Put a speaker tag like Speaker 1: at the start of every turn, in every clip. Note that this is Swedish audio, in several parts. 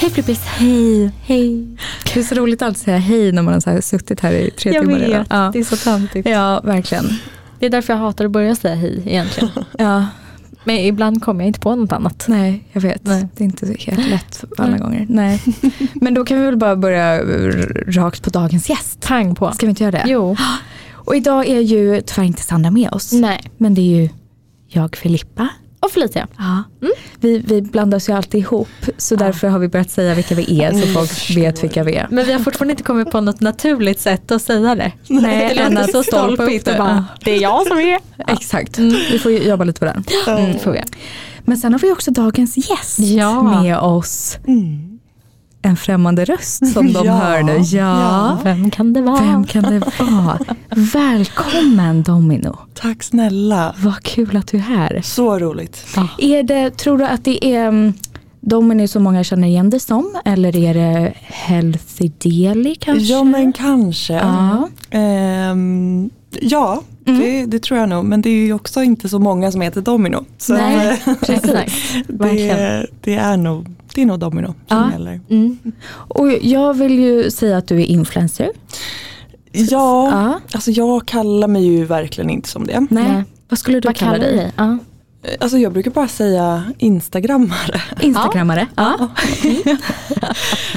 Speaker 1: Hej Flippis!
Speaker 2: Hej. Hej.
Speaker 1: Det är så roligt alltid att säga hej när man har så här suttit här i tre
Speaker 2: Jag
Speaker 1: timmar
Speaker 2: vet,
Speaker 1: Ja.
Speaker 2: det är så töntigt.
Speaker 1: ja, verkligen.
Speaker 2: Det är därför jag hatar att börja säga hej egentligen.
Speaker 1: Ja,
Speaker 2: Men ibland kommer jag inte på något annat.
Speaker 1: nej, jag vet.
Speaker 2: Nej.
Speaker 1: Det är inte så helt lätt alla
Speaker 2: Nej.
Speaker 1: gånger. Nej. Men då kan vi väl bara börja r- rakt på dagens gäst.
Speaker 2: Tang på.
Speaker 1: Ska vi inte göra det?
Speaker 2: Jo.
Speaker 1: Och idag är ju tyvärr inte Sandra med oss.
Speaker 2: Nej.
Speaker 1: Men det är ju jag, Filippa.
Speaker 2: Och Felicia.
Speaker 1: Ja.
Speaker 2: Mm.
Speaker 1: Vi, vi blandas ju alltid ihop så därför har vi börjat säga vilka vi är så
Speaker 2: Mm.
Speaker 1: folk vet vilka vi är.
Speaker 2: Men vi har fortfarande inte kommit på något naturligt sätt att säga det.
Speaker 1: Nej,
Speaker 2: det
Speaker 1: än
Speaker 2: låter
Speaker 1: att
Speaker 2: så
Speaker 1: stolpa upp
Speaker 2: stolpigt och
Speaker 1: det.
Speaker 2: bara, det är jag som är.
Speaker 1: Exakt, vi får ju jobba lite på den.
Speaker 2: Mm, får vi.
Speaker 1: Men sen har vi också dagens gäst
Speaker 2: Ja.
Speaker 1: med oss.
Speaker 3: Mm.
Speaker 1: En främmande röst som de
Speaker 3: Ja.
Speaker 1: hör nu. Ja.
Speaker 2: Vem kan det vara?
Speaker 1: Vem kan det vara? Välkommen Domino.
Speaker 3: Tack snälla.
Speaker 1: Vad kul att du är här.
Speaker 3: Så roligt.
Speaker 1: Är det, tror du att det är mm, Domino som många känner igen dig som? Eller är det Healthy Deli kanske?
Speaker 3: Ja men kanske.
Speaker 1: Ja. Mm.
Speaker 3: Ehm, ja, det, det tror jag nog. Men det är ju också inte så många som heter Domino. Så
Speaker 1: Nej,
Speaker 3: eh,
Speaker 1: precis.
Speaker 3: det, det, är nog, det är nog Domino som
Speaker 1: Ja.
Speaker 3: gäller.
Speaker 2: Mm.
Speaker 1: Och jag vill ju säga att du är influencer.
Speaker 3: Ja,
Speaker 1: Ja.
Speaker 3: alltså jag kallar mig ju verkligen inte som det.
Speaker 1: Nej.
Speaker 2: Nej.
Speaker 1: Vad skulle du
Speaker 2: Vad
Speaker 1: kalla
Speaker 2: kallar du
Speaker 1: dig?
Speaker 2: dig? Ja.
Speaker 3: Alltså jag brukar bara säga instagrammare.
Speaker 1: Instagrammare? Ja.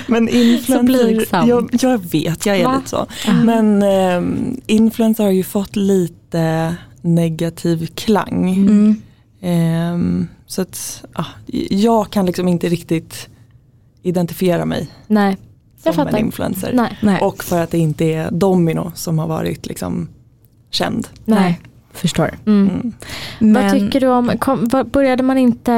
Speaker 3: Men influencer,
Speaker 2: blygsam.
Speaker 3: jag, jag vet jag är
Speaker 2: Va?
Speaker 3: lite så. Men ehm, influencer har ju fått lite negativ klang.
Speaker 1: Mm.
Speaker 3: Ehm, så att ja, jag kan liksom inte riktigt identifiera mig
Speaker 2: Nej. Jag
Speaker 3: som en
Speaker 2: fattar.
Speaker 3: influencer.
Speaker 2: Nej.
Speaker 1: Nej.
Speaker 3: Och för att det inte är Domino som har varit liksom känd.
Speaker 1: Nej.
Speaker 2: Nej.
Speaker 1: Förstår.
Speaker 2: Mm.
Speaker 3: Mm.
Speaker 2: Vad tycker du om, kom, vad- började man inte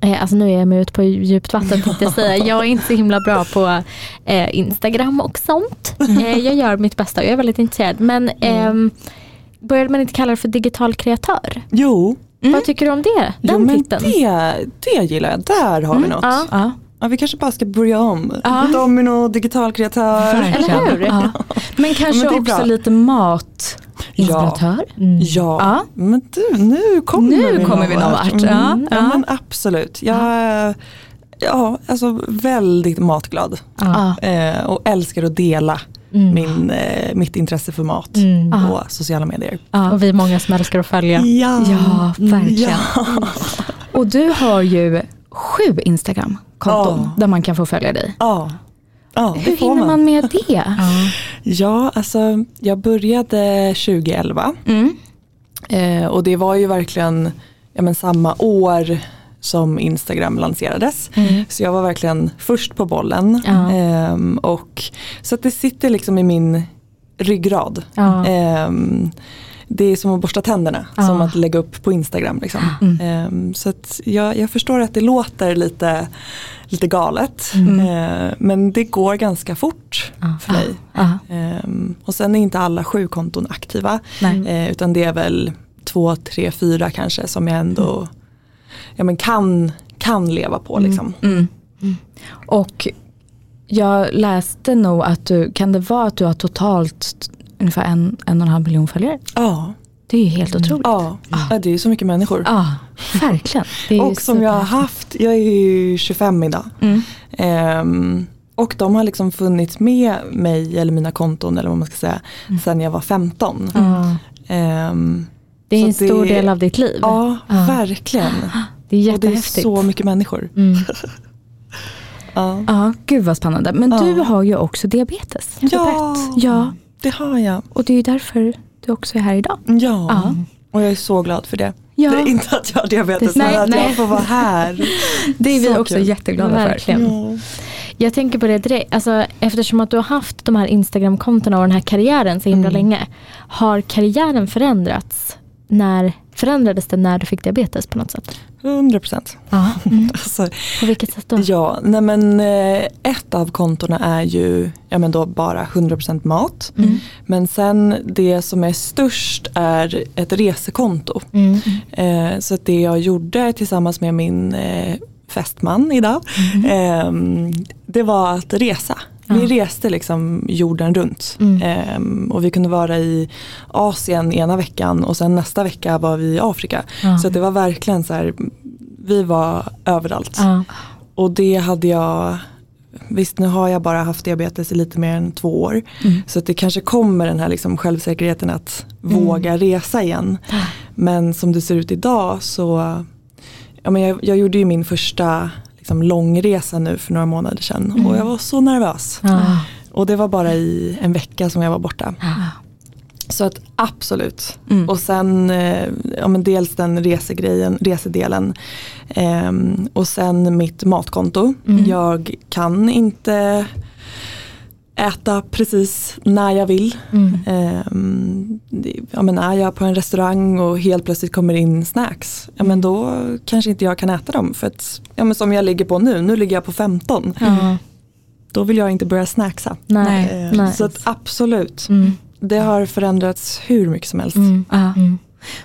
Speaker 2: eh, Alltså nu är jag mig ute på djupt vatten tänkte jag säga. Jag är inte så himla bra på eh, Instagram och sånt. Eh, jag gör mitt bästa och jag är väldigt intresserad. Men ehm, började man inte kalla det för digital kreatör?
Speaker 3: Jo,
Speaker 1: Mm.
Speaker 2: Vad tycker du om Mm. det?
Speaker 3: jo
Speaker 2: Den
Speaker 3: men
Speaker 2: titeln?
Speaker 3: det, det gillar jag. Där har vi något.
Speaker 2: ja.
Speaker 3: Mm. Ja.
Speaker 1: Mm, Ja.
Speaker 3: vi kanske bara ska börja om.
Speaker 1: Ja.
Speaker 3: Domino, digital kreatör.
Speaker 1: Verkligen.
Speaker 2: Eller hur?
Speaker 1: Ja. Men kanske
Speaker 3: Ja, men det är
Speaker 1: också
Speaker 3: bra.
Speaker 1: lite matinspiratör.
Speaker 2: Mm.
Speaker 3: Ja.
Speaker 1: Ja.
Speaker 3: men du nu kommer
Speaker 1: Nu
Speaker 3: vi
Speaker 1: kommer vi någon vart. Ja,
Speaker 3: Mm, ja.
Speaker 1: ja.
Speaker 3: men absolut. Jag är ja, alltså väldigt matglad.
Speaker 1: Ja.
Speaker 3: Eh, och älskar att dela
Speaker 2: Mm.
Speaker 3: min, eh, mitt intresse för mat
Speaker 2: Mm.
Speaker 3: på sociala medier.
Speaker 1: Ja.
Speaker 2: Och vi är många som älskar att följa.
Speaker 3: Ja,
Speaker 1: Ja, verkligen.
Speaker 3: Mm. Ja.
Speaker 1: Och du har ju sju Instagram-konton
Speaker 3: Ja.
Speaker 1: där man kan få följa dig.
Speaker 3: ja. ja det
Speaker 1: Hur
Speaker 3: får
Speaker 1: hinner
Speaker 3: man.
Speaker 1: man med det?
Speaker 3: Ja, alltså jag började 2011
Speaker 1: Mm.
Speaker 3: eh, och det var ju verkligen ja, men samma år som Instagram lanserades. Så jag var verkligen först på bollen.
Speaker 2: Ja.
Speaker 3: Ehm, och, så att det sitter liksom i min ryggrad.
Speaker 2: Ja.
Speaker 3: Ehm, det är som att borsta tänderna,
Speaker 2: Ja.
Speaker 3: som att lägga upp på Instagram. Liksom.
Speaker 1: Mm.
Speaker 3: Ehm, så att jag, jag förstår att det låter lite, lite galet. Ehm, men det går ganska fort för mig.
Speaker 1: Mm. Ja.
Speaker 3: Ehm, och sen är inte alla sju konton aktiva.
Speaker 1: Nej.
Speaker 3: Eh, utan det är väl två, tre, fyra kanske som jag ändå ja, men kan, kan leva på. Liksom.
Speaker 1: Mm. Mm. Och jag läste nog att du, kan det vara att du har totalt ungefär en, en och en halv miljon följare?
Speaker 3: Ja,
Speaker 1: Det är ju
Speaker 3: Mm.
Speaker 1: helt otroligt.
Speaker 3: ja. ja, det är ju så mycket människor.
Speaker 1: Ja, verkligen. Det är ju
Speaker 3: Och som
Speaker 1: super-
Speaker 3: jag har haft, jag är ju 25 idag.
Speaker 1: Mm.
Speaker 3: Ehm, och de har liksom funnits med mig, eller mina konton eller vad man ska säga, sedan jag var 15.
Speaker 1: Mm.
Speaker 2: Ja.
Speaker 3: Ehm,
Speaker 2: Det är
Speaker 3: Så
Speaker 2: en stor
Speaker 3: det-
Speaker 2: del av ditt liv.
Speaker 3: ja, verkligen.
Speaker 2: Det är
Speaker 3: Och det är
Speaker 2: jättehäftigt.
Speaker 3: så mycket människor.
Speaker 2: Mm.
Speaker 3: Ja,
Speaker 1: Ja, gud vad spännande. Men du
Speaker 3: Ja.
Speaker 1: har ju också diabetes.
Speaker 3: Ja.
Speaker 1: ja,
Speaker 3: det har jag.
Speaker 1: och det är ju därför du också är här idag.
Speaker 3: Ja.
Speaker 1: Ja.
Speaker 3: och jag är så glad för det.
Speaker 1: Ja.
Speaker 3: Det är inte att jag har diabetes,
Speaker 1: Det- nej,
Speaker 3: men att
Speaker 1: nej.
Speaker 3: jag får vara här.
Speaker 1: Det är vi
Speaker 3: Så
Speaker 1: också
Speaker 3: kul.
Speaker 1: jätteglada
Speaker 2: Verkligen.
Speaker 1: för.
Speaker 3: Ja.
Speaker 2: Jag tänker på det direkt, alltså, eftersom att du har haft de här Instagram-kontona och den här karriären så
Speaker 3: Mm.
Speaker 2: himla länge. Har karriären förändrats? När, förändrades den när du fick diabetes på något sätt?
Speaker 3: 100 procent.
Speaker 2: Ja. Mm.
Speaker 3: Alltså,
Speaker 2: På vilket sätt då?
Speaker 3: ja, nej men eh, ett av kontona är ju ja men då bara 100 procent mat.
Speaker 2: Mm.
Speaker 3: Men sen det som är störst är ett resekonto.
Speaker 2: Mm.
Speaker 3: Eh, så att det jag gjorde tillsammans med min eh, fästman idag,
Speaker 2: Mm.
Speaker 3: ehm, det var att resa. Vi reste liksom jorden runt
Speaker 2: Mm.
Speaker 3: Ehm, och vi kunde vara i Asien ena veckan och sen nästa vecka var vi i Afrika.
Speaker 2: Ja.
Speaker 3: Så att det var verkligen så här, vi var överallt.
Speaker 2: Ja.
Speaker 3: Och det hade jag, visst nu har jag bara haft diabetes i lite mer än två år.
Speaker 2: Mm.
Speaker 3: Så att det kanske kommer den här liksom självsäkerheten att
Speaker 2: Mm.
Speaker 3: våga resa igen. Men som det ser ut idag så, ja, men jag, jag gjorde ju min första liksom, långresa nu för några månader sedan och jag var så nervös.
Speaker 2: Ja.
Speaker 3: Och det var bara i en vecka som jag var borta. Så att absolut.
Speaker 2: Mm.
Speaker 3: Och sen eh, ja, men dels den resegrejen, resedelen. Ehm, och sen mitt matkonto.
Speaker 2: Mm.
Speaker 3: Jag kan inte äta precis när jag vill.
Speaker 2: Mm.
Speaker 3: Ehm, det- ja, men är jag på en restaurang och helt plötsligt kommer in snacks, ja, men då kanske inte jag kan äta dem. För att, ja, men som jag ligger på nu, nu ligger jag på 15.
Speaker 2: Ja.
Speaker 3: Då vill jag inte börja snacksa.
Speaker 2: Mm. Nej.
Speaker 3: Eh,
Speaker 2: Nej.
Speaker 3: Så att absolut,
Speaker 2: Mm.
Speaker 3: det har förändrats hur mycket som helst.
Speaker 2: Mm.
Speaker 1: Ja.
Speaker 2: Mm.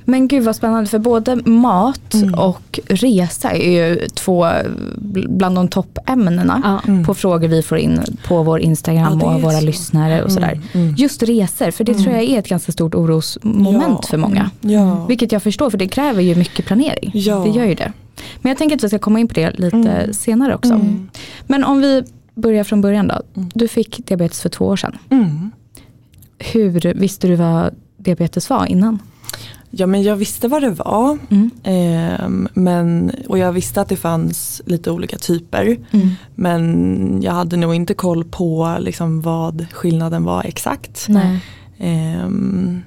Speaker 1: Men gud vad spännande för både mat
Speaker 3: Mm.
Speaker 1: och resa är ju två bl- bland de toppämnena
Speaker 2: Ja.
Speaker 3: Mm.
Speaker 1: på frågor vi får in på vår Instagram
Speaker 3: Ja, det
Speaker 1: och
Speaker 3: är
Speaker 1: våra
Speaker 3: så. Mm.
Speaker 1: lyssnare och sådär. Just resor, för det tror jag är ett ganska stort orosmoment
Speaker 3: Ja.
Speaker 1: för många.
Speaker 3: Ja.
Speaker 1: Vilket jag förstår för det kräver ju mycket planering.
Speaker 3: Ja.
Speaker 1: Det gör ju det. Men jag tänker att vi ska komma in på det lite senare också.
Speaker 3: Mm.
Speaker 1: Men om vi börjar från början då. Du fick diabetes för två år sedan.
Speaker 3: Mm.
Speaker 1: Hur visste du vad diabetes var innan?
Speaker 3: Ja men jag visste vad det var.
Speaker 1: Mm.
Speaker 3: ehm, men, och jag visste att det fanns lite olika typer. Men jag hade nog inte koll på liksom, vad skillnaden var
Speaker 1: Mm.
Speaker 3: exakt.
Speaker 2: Nej.
Speaker 3: Ehm,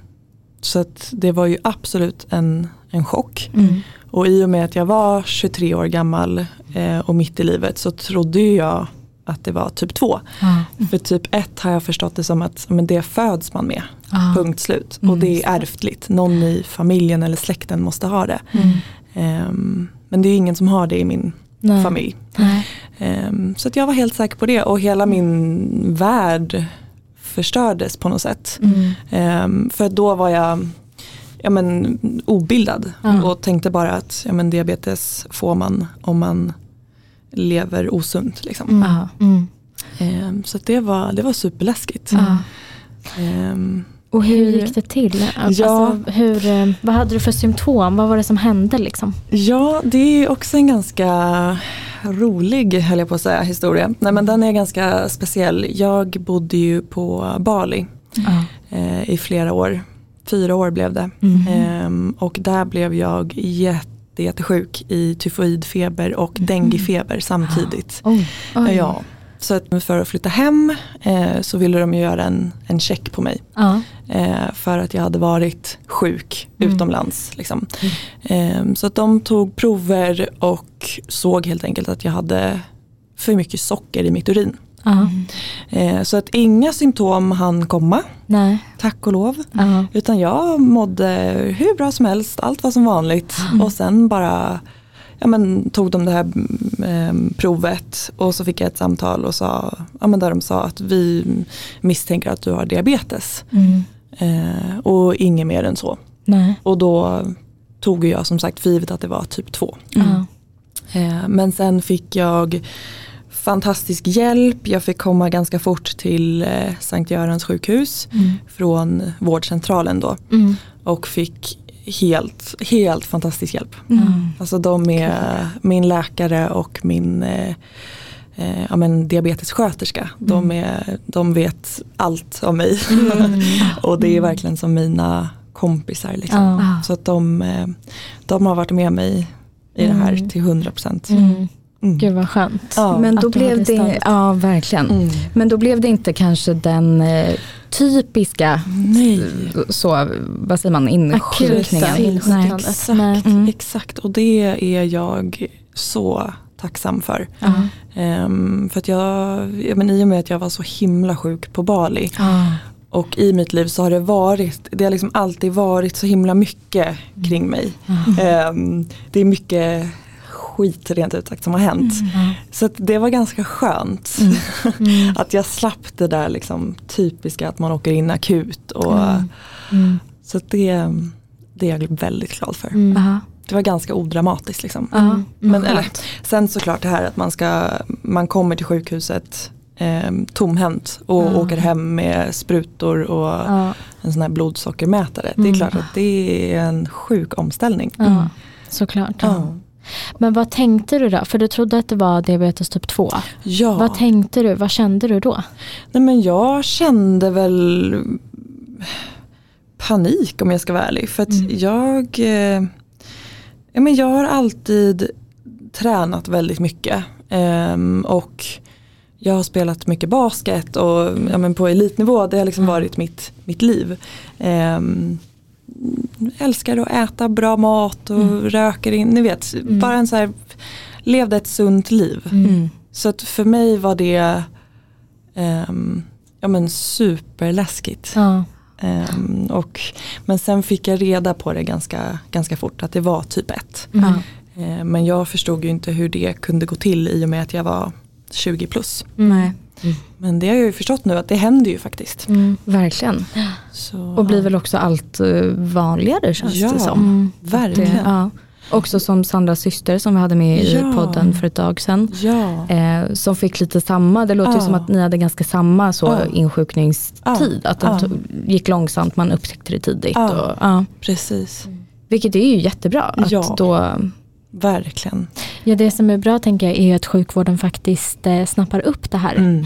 Speaker 3: så att det var ju absolut en, en chock.
Speaker 1: Mm.
Speaker 3: Och i och med att jag var 23 år gammal eh, och mitt i livet så trodde ju jag att det var typ 2.
Speaker 2: Ja.
Speaker 3: För typ 1 har jag förstått det som att men det föds man med. Punkt slut. Och
Speaker 2: Mm.
Speaker 3: det är ärftligt. Någon i familjen eller släkten måste ha det.
Speaker 1: Mm.
Speaker 3: Ehm, men det är ju ingen som har det i min
Speaker 2: Nej.
Speaker 3: familj.
Speaker 2: Nej.
Speaker 3: Ehm, så att jag var helt säker på det och hela min värld förstördes på något sätt.
Speaker 1: Mm.
Speaker 3: Ehm, för att då var jag ja, men, obildad
Speaker 2: Ja.
Speaker 3: och tänkte bara att ja, men, diabetes får man om man lever osunt. Liksom.
Speaker 1: Ja.
Speaker 2: Mm.
Speaker 3: Ehm, så att det, var, det var superläskigt.
Speaker 1: Ja.
Speaker 3: Ehm,
Speaker 2: Och hur
Speaker 1: Hur-
Speaker 2: gick det till?
Speaker 3: Ja.
Speaker 2: Alltså, hur, eh, vad hade du för symptom? Vad var det som hände liksom?
Speaker 3: Ja, det är ju också en ganska rolig, höll jag på att säga, historia. Nej men den är ganska speciell. Jag bodde ju på Bali
Speaker 1: Ja.
Speaker 3: eh, i flera år. Fyra år blev det. Ehm, och där blev jag jätte, jättesjuk i tyfoidfeber och denguefeber samtidigt.
Speaker 2: Oj.
Speaker 1: Oj.
Speaker 3: Ja. Så att för att flytta hem eh, så ville de ju göra en, en check på mig.
Speaker 2: Ja.
Speaker 3: Eh, för att jag hade varit sjuk utomlands. Liksom. Eh, så att de tog prover och såg helt enkelt att jag hade för mycket socker i mitt urin.
Speaker 2: Ja.
Speaker 3: Eh, så att inga symptom hann komma,
Speaker 2: Nej.
Speaker 3: tack och lov.
Speaker 2: Ja.
Speaker 3: Utan jag mådde hur bra som helst, allt var som vanligt.
Speaker 2: Mm.
Speaker 3: Och sen bara ja, men, tog de det här mm, eh, provet och så fick jag ett samtal och sa, ja, men där de sa att vi misstänker att du har diabetes.
Speaker 2: Mm.
Speaker 3: Eh, och inget mer än så.
Speaker 2: Nej.
Speaker 3: Och då tog jag som sagt för givet att det var typ 2.
Speaker 2: Ja.
Speaker 3: Eh, men sen fick jag fantastisk hjälp. Jag fick komma ganska fort till eh, Sankt Görans sjukhus från vårdcentralen då.
Speaker 2: Mm.
Speaker 3: Och fick helt, helt fantastisk hjälp.
Speaker 1: Mm.
Speaker 3: Alltså de är min läkare och min eh, eh, ja, men diabetessköterska. De,
Speaker 2: Mm.
Speaker 3: är, de vet allt om mig. och det är verkligen som mina kompisar. Liksom.
Speaker 2: Ja.
Speaker 3: Så att de, eh, de har varit med mig i det här till 100 procent.
Speaker 2: Mm.
Speaker 3: Mm.
Speaker 2: Gud vad skönt.
Speaker 3: Ja.
Speaker 1: Men då
Speaker 2: Att du hade
Speaker 1: blev det,
Speaker 2: stödet.
Speaker 1: ja verkligen.
Speaker 3: Mm.
Speaker 1: Men då blev det inte kanske den eh, typiska,
Speaker 3: Nej.
Speaker 1: så, vad säger man,
Speaker 2: Akuta
Speaker 1: insjukningen. Nej.
Speaker 2: tillståndet. Nej.
Speaker 3: Exakt,
Speaker 1: Mm.
Speaker 3: exakt. Och det är jag så tacksam för.
Speaker 2: Ja.
Speaker 3: Ehm, för att jag, ja, men I och med att jag var så himla sjuk på Bali
Speaker 1: Ja.
Speaker 3: Och i mitt liv så har det varit, det har liksom alltid varit så himla mycket kring mig. Ehm, det är mycket skit rent ut sagt som har hänt. Så att det var ganska skönt. att jag slapp det där liksom typiska att man åker in akut. Och,
Speaker 2: Mm.
Speaker 3: Så att det, det är jag väldigt glad för.
Speaker 2: Mm.
Speaker 1: Aha.
Speaker 3: Det var ganska odramatiskt liksom.
Speaker 1: Ja.
Speaker 3: Men, eller, sen såklart det här att man, ska, man kommer till sjukhuset eh, tomhänt och åker hem med sprutor och
Speaker 2: Mm. Ja. Mm.
Speaker 3: en sån här blodsockermätare. Det är klart att det är en sjuk omställning.
Speaker 2: Ja, såklart.
Speaker 3: Ja.
Speaker 2: Men vad tänkte du då? För du trodde att det var diabetes typ 2.
Speaker 3: Ja.
Speaker 2: Vad tänkte du? Vad kände du då?
Speaker 3: Nej men jag kände väl panik om jag ska vara ärlig. För att jag, eh, ja, men jag har alltid tränat väldigt mycket. ehm, och jag har spelat mycket basket och ja, men på elitnivå, det har liksom varit mitt, mitt liv. Ehm, jag älskar att äta bra mat och röker in, ni vet, bara en så här, levde ett sunt liv.
Speaker 1: Mm.
Speaker 2: Mm.
Speaker 3: Så att för mig var det ehm, ja, men superläskigt.
Speaker 2: Ja. Mm.
Speaker 3: Ehm, och, men sen fick jag reda på det ganska, ganska fort att det var typ 1.
Speaker 2: Mm.
Speaker 1: Ja.
Speaker 3: men jag förstod ju inte hur det kunde gå till i och med att jag var 20 plus.
Speaker 1: Nej,
Speaker 3: Men det har jag ju förstått nu att det händer ju faktiskt.
Speaker 2: Mm.
Speaker 1: verkligen.
Speaker 3: Så,
Speaker 1: Och blir väl också allt eh, vanligare känns
Speaker 3: Ja.
Speaker 1: det som.
Speaker 2: Mm.
Speaker 1: Det,
Speaker 3: Verkligen.
Speaker 1: ja. Också som Sandras syster som vi hade med i
Speaker 3: Ja.
Speaker 1: podden för ett tag sedan.
Speaker 3: Ja.
Speaker 1: Eh, som fick lite samma, det låter ju
Speaker 3: Ja.
Speaker 1: som att ni hade ganska samma så
Speaker 3: Ja.
Speaker 1: insjukningstid.
Speaker 3: Ja.
Speaker 1: Att den
Speaker 3: Ja.
Speaker 1: tog, gick långsamt, man upptäckte det tidigt.
Speaker 3: Ja.
Speaker 1: Och, ja.
Speaker 3: Precis,
Speaker 1: Vilket är ju jättebra. Att
Speaker 3: Ja.
Speaker 1: då,
Speaker 3: verkligen.
Speaker 2: Ja, det som är bra tänker jag är ju att sjukvården faktiskt eh, snappar upp det här.
Speaker 3: Mm.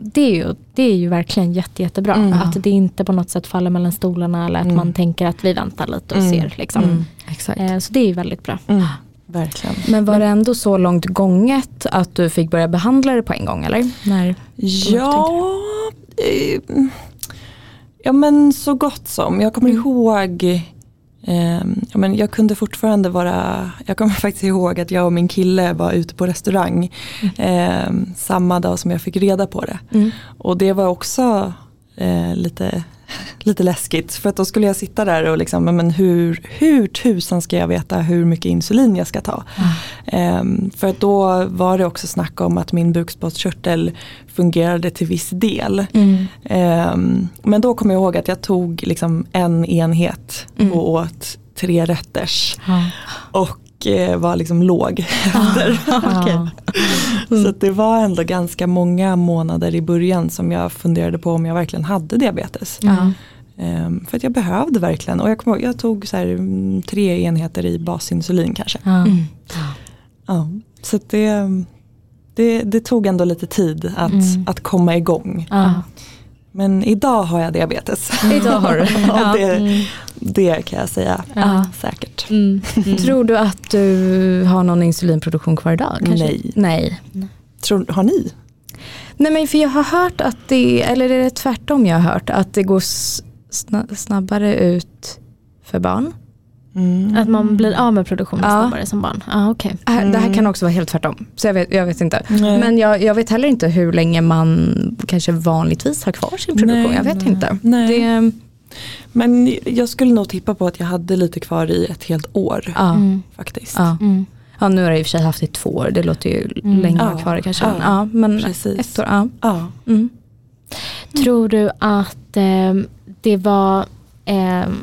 Speaker 2: Eh, det, är ju, det är ju verkligen jätte, jättebra. Att det inte på något sätt faller mellan stolarna eller att man tänker att vi väntar lite och ser. Liksom.
Speaker 1: Mm. exakt.
Speaker 2: Eh, så det är ju väldigt bra.
Speaker 3: Mm. Verkligen.
Speaker 1: Men var det ändå så långt gånget att du fick börja behandla det på en gång
Speaker 3: Mm.
Speaker 1: eller? När,
Speaker 3: Ja, eh, ja men så gott som. Jag kommer ihåg, eh, ja, men jag kunde fortfarande vara, jag kommer faktiskt ihåg att jag och min kille var ute på restaurang eh, samma dag som jag fick reda på det. Och det var också eh, lite, lite läskigt för att då skulle jag sitta där och liksom, ja, men hur, hur tusan ska jag veta hur mycket insulin jag ska ta? Ehm, för att då var det också snack om att min bukspottkörtel fungerade till viss del. Ehm, men då kommer jag ihåg att jag tog liksom en enhet och åt tre rätters. Och eh, var liksom låg efter.
Speaker 2: Mm.
Speaker 1: Mm.
Speaker 3: Så att det var ändå ganska många månader i början som jag funderade på om jag verkligen hade diabetes. Ehm, för att jag behövde verkligen, och jag, kommer ihåg, jag tog så här, mm, tre enheter i basinsulin kanske.
Speaker 2: Ja.
Speaker 1: Mm.
Speaker 3: Ja, så att det, det, det tog ändå lite tid att,
Speaker 1: Mm.
Speaker 3: att komma igång.
Speaker 2: Ja.
Speaker 3: Men idag har jag diabetes.
Speaker 1: Mm. Idag har du det.
Speaker 3: ja, det, det kan jag säga säkert.
Speaker 2: Mm.
Speaker 1: Tror du att du har någon insulinproduktion kvar idag? Kanske?
Speaker 3: Nej.
Speaker 1: Nej.
Speaker 3: Tror, har ni?
Speaker 1: Nej men för jag har hört att det, eller är det tvärtom jag har hört, att det går s- sna- snabbare ut för barn.
Speaker 3: Mm.
Speaker 2: Att man blir av med produktionen
Speaker 1: Mm. Ja.
Speaker 2: snabbare som barn. Ja, okej.
Speaker 1: Det här- Äh, Det här kan också vara helt tvärtom, så jag vet, jag vet inte.
Speaker 3: Nej.
Speaker 1: Men jag, jag vet heller inte hur länge man kanske vanligtvis har kvar sin produktion,
Speaker 3: Nej,
Speaker 1: jag vet
Speaker 3: nej.
Speaker 1: inte.
Speaker 3: Nej.
Speaker 1: Det, mm,
Speaker 3: Men jag skulle nog tippa på att jag hade lite kvar i ett helt år
Speaker 1: ja,
Speaker 3: faktiskt.
Speaker 1: ja.
Speaker 2: Mm.
Speaker 1: ja, nu har jag i och för sig haft det i två år, det låter ju länge
Speaker 3: Ja,
Speaker 1: kvar kanske.
Speaker 3: ja,
Speaker 1: men, Ja, men
Speaker 3: precis.
Speaker 1: ett år, ja.
Speaker 3: Ja.
Speaker 1: Mm.
Speaker 2: Tror du att ehm, det var ehm,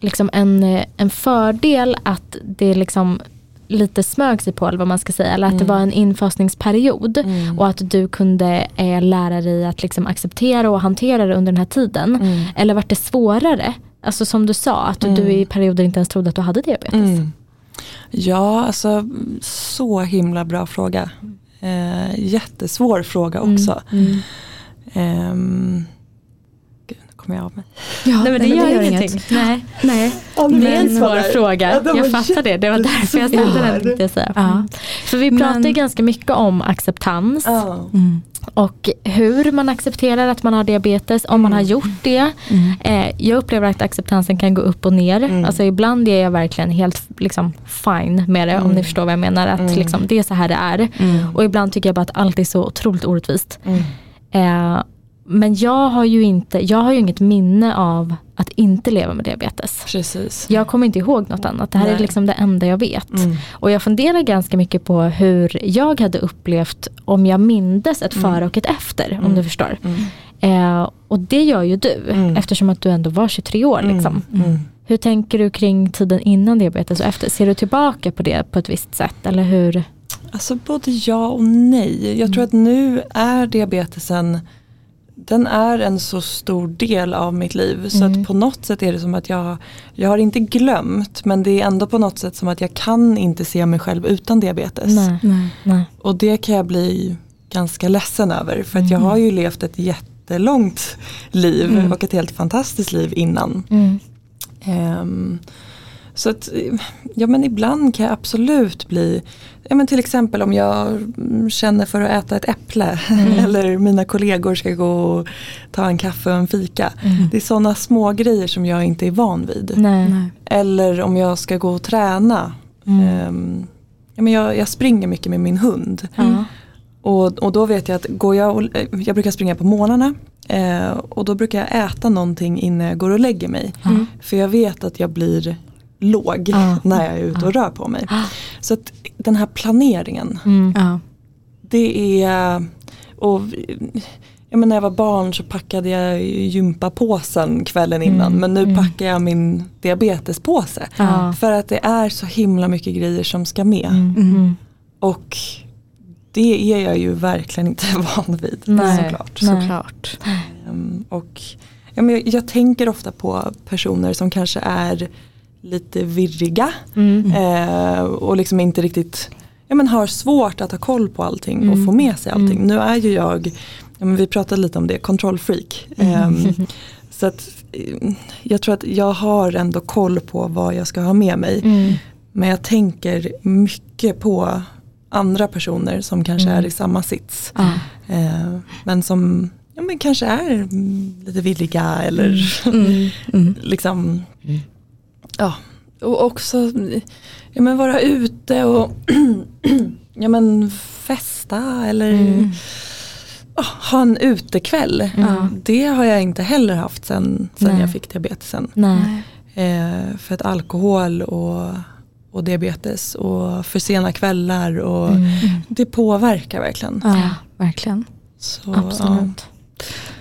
Speaker 2: liksom en, eh, en fördel att det liksom lite smög sig på eller vad man ska säga eller att
Speaker 1: Mm.
Speaker 2: det var en infasningsperiod
Speaker 3: Mm.
Speaker 2: och att du kunde eh, lära dig att liksom acceptera och hantera det under den här tiden.
Speaker 1: Mm.
Speaker 3: Mm.
Speaker 2: Eller vart det svårare? Alltså som du sa att
Speaker 1: Mm.
Speaker 2: du i perioder inte ens trodde att du hade diabetes.
Speaker 3: Mm. Ja, alltså så himla bra fråga. Eh, jättesvår fråga också. Ehm, gud, nu kommer jag av mig.
Speaker 1: Ja,
Speaker 2: Nej men det
Speaker 1: nej,
Speaker 2: gör,
Speaker 1: inget.
Speaker 2: ingenting. Nej.
Speaker 1: Nej.
Speaker 2: Det är en svår fråga. jag fattar det. Det var därför jag ställde den. tänkte jag säga.
Speaker 1: Ja.
Speaker 2: För vi pratar ju
Speaker 1: Men-
Speaker 2: ganska mycket om acceptans
Speaker 3: Ja.
Speaker 2: och hur man accepterar att man har diabetes, om man har gjort det. Eh, jag upplever att acceptansen kan gå upp och ner. Alltså ibland är jag verkligen helt liksom, fine med det, om ni förstår vad jag menar. Att liksom,
Speaker 3: Mm.
Speaker 2: det är så här det är. Och ibland tycker jag bara att allt är så otroligt orättvist. Eh, Men jag har ju inte, jag har ju inget minne av att inte leva med diabetes.
Speaker 3: Precis.
Speaker 2: Jag kommer inte ihåg något annat. Det här är
Speaker 3: Nej.
Speaker 2: liksom det enda jag vet.
Speaker 3: Mm.
Speaker 2: Och jag funderar ganska mycket på hur jag hade upplevt om jag mindes ett
Speaker 3: Mm.
Speaker 2: före och ett efter. Om
Speaker 3: Mm.
Speaker 2: du förstår.
Speaker 3: Mm.
Speaker 2: Eh, och det gör ju du.
Speaker 3: Mm.
Speaker 2: Eftersom att du ändå var 23 år. Liksom.
Speaker 3: Mm. Mm.
Speaker 2: Hur tänker du kring tiden innan diabetes och efter? Ser du tillbaka på det på ett visst sätt? Eller hur?
Speaker 3: Alltså både ja och nej. Jag tror
Speaker 2: Mm.
Speaker 3: att nu är diabetesen den är en så stor del av mitt liv så
Speaker 2: Mm.
Speaker 3: att på något sätt är det som att jag, jag har inte glömt men det är ändå på något sätt som att jag kan inte se mig själv utan diabetes.
Speaker 2: Nej.
Speaker 1: Nej.
Speaker 2: Nej.
Speaker 3: Och det kan jag bli ganska ledsen över för att jag
Speaker 2: Mm.
Speaker 3: har ju levt ett jättelångt liv
Speaker 1: Mm.
Speaker 3: och ett helt fantastiskt liv innan.
Speaker 2: Mm.
Speaker 3: Ehm, så att, eh, ja men ibland kan jag absolut bli, ja men till exempel om jag mm, känner för att äta ett äpple eller mina kollegor ska gå och ta en kaffe och en fika. Det är sådana små grejer som jag inte är van vid.
Speaker 2: Nej. Mm.
Speaker 1: Nej.
Speaker 3: Eller om jag ska gå och träna. Ehm, ja, men jag, jag springer mycket med min hund.
Speaker 2: Ja.
Speaker 3: Och, och då vet jag att går jag, och, eh, jag brukar springa på morgnarna eh, och då brukar jag äta någonting innan jag går och lägger mig.
Speaker 2: Mm.
Speaker 3: För jag vet att jag blir låg
Speaker 2: Ja.
Speaker 3: när jag är ute och rör på mig.
Speaker 2: Ah.
Speaker 3: Så att den här planeringen,
Speaker 2: Mm.
Speaker 1: Ja.
Speaker 3: det är... Och, jag menar, när jag var barn så packade jag gympapåsen kvällen innan
Speaker 2: Mm,
Speaker 3: men nu
Speaker 2: mm.
Speaker 3: packar jag min diabetespåse.
Speaker 2: Ja.
Speaker 3: För att det är så himla mycket grejer som ska med.
Speaker 2: Mm. Mm.
Speaker 3: Och det är jag ju verkligen inte van vid
Speaker 2: Mm. Nej.
Speaker 3: såklart.
Speaker 2: Nej.
Speaker 1: Mm. Såklart.
Speaker 3: Ehm, Och, ja, men jag, jag tänker ofta på personer som kanske är lite virriga
Speaker 2: Mm.
Speaker 3: eh, och liksom inte riktigt ja, men har svårt att ha koll på allting och
Speaker 2: Mm.
Speaker 3: få med sig allting.
Speaker 2: Mm.
Speaker 3: Nu är ju jag, ja, men vi pratade lite om det, kontrollfreak.
Speaker 2: Mm.
Speaker 3: Ehm, så att, eh, jag tror att jag har ändå koll på vad jag ska ha med mig.
Speaker 2: Mm.
Speaker 3: Men jag tänker mycket på andra personer som kanske
Speaker 2: Mm.
Speaker 3: är i samma sits.
Speaker 1: Ja.
Speaker 3: Eh, men som ja, men kanske är mm, lite villiga eller
Speaker 1: Mm. Mm.
Speaker 3: liksom ja. Och också mm, ja, men vara ute och ja, men festa eller
Speaker 2: Mm.
Speaker 3: ja, ha en utekväll.
Speaker 1: Mm. Ja.
Speaker 3: Det har jag inte heller haft sen, sen
Speaker 2: Nej.
Speaker 3: jag fick diabetesen.
Speaker 2: Nej.
Speaker 1: Nej.
Speaker 3: Eh, för att alkohol och, och diabetes och för sena kvällar och
Speaker 2: Mm.
Speaker 3: det påverkar verkligen.
Speaker 1: Ja, verkligen.
Speaker 3: Så, ja.
Speaker 2: Absolut.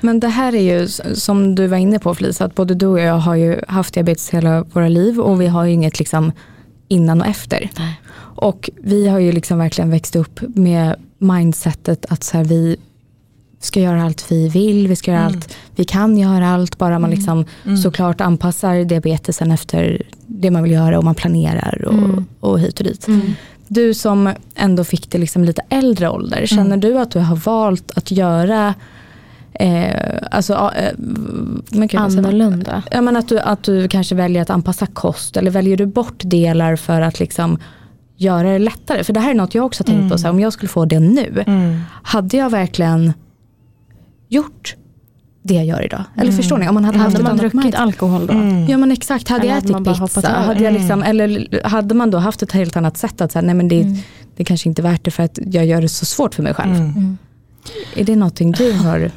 Speaker 1: Men det här är ju s- som du var inne på Felicia, att både du och jag har ju haft diabetes hela våra liv och vi har ju inget liksom innan och efter.
Speaker 2: Nej.
Speaker 1: Och vi har ju liksom verkligen växt upp med mindsetet att så här, vi ska göra allt vi vill, vi ska göra
Speaker 3: Mm.
Speaker 1: allt vi kan göra allt, bara man
Speaker 2: Mm.
Speaker 1: liksom
Speaker 3: Mm.
Speaker 1: såklart anpassar diabetesen efter det man vill göra och man planerar och,
Speaker 2: Mm.
Speaker 1: och hit och dit.
Speaker 2: Mm.
Speaker 1: Du som ändå fick det liksom lite äldre ålder, känner du att du har valt att göra eh, alltså, ja, eh, men gud, alltså, vad säger man?
Speaker 2: Annorlunda.
Speaker 1: Ja, men att, du, att du kanske väljer att anpassa kost eller väljer du bort delar för att liksom göra det lättare? För det här är något jag också har tänkt på,
Speaker 3: Mm.
Speaker 1: så här, om jag skulle få det nu,
Speaker 3: Mm.
Speaker 1: hade jag verkligen gjort det jag gör idag? Eller
Speaker 3: Mm.
Speaker 1: förstår ni, om man hade
Speaker 3: Mm.
Speaker 1: haft
Speaker 2: Hade
Speaker 1: ett
Speaker 2: man
Speaker 1: annat
Speaker 2: druckit
Speaker 1: mindset.
Speaker 2: alkohol då?
Speaker 3: Mm.
Speaker 1: Ja men exakt, hade
Speaker 2: Eller
Speaker 1: jag
Speaker 2: hade man
Speaker 1: ätit
Speaker 2: bara hoppat
Speaker 1: pizza,
Speaker 2: över?
Speaker 1: hade jag
Speaker 3: Mm.
Speaker 1: liksom, eller hade man då haft ett helt annat sätt att säga, nej men det,
Speaker 2: Mm.
Speaker 1: det kanske inte är värt det för att jag gör det så svårt för mig själv.
Speaker 3: Mm.
Speaker 2: Mm.
Speaker 1: Är det någonting du
Speaker 2: Ah.
Speaker 1: har?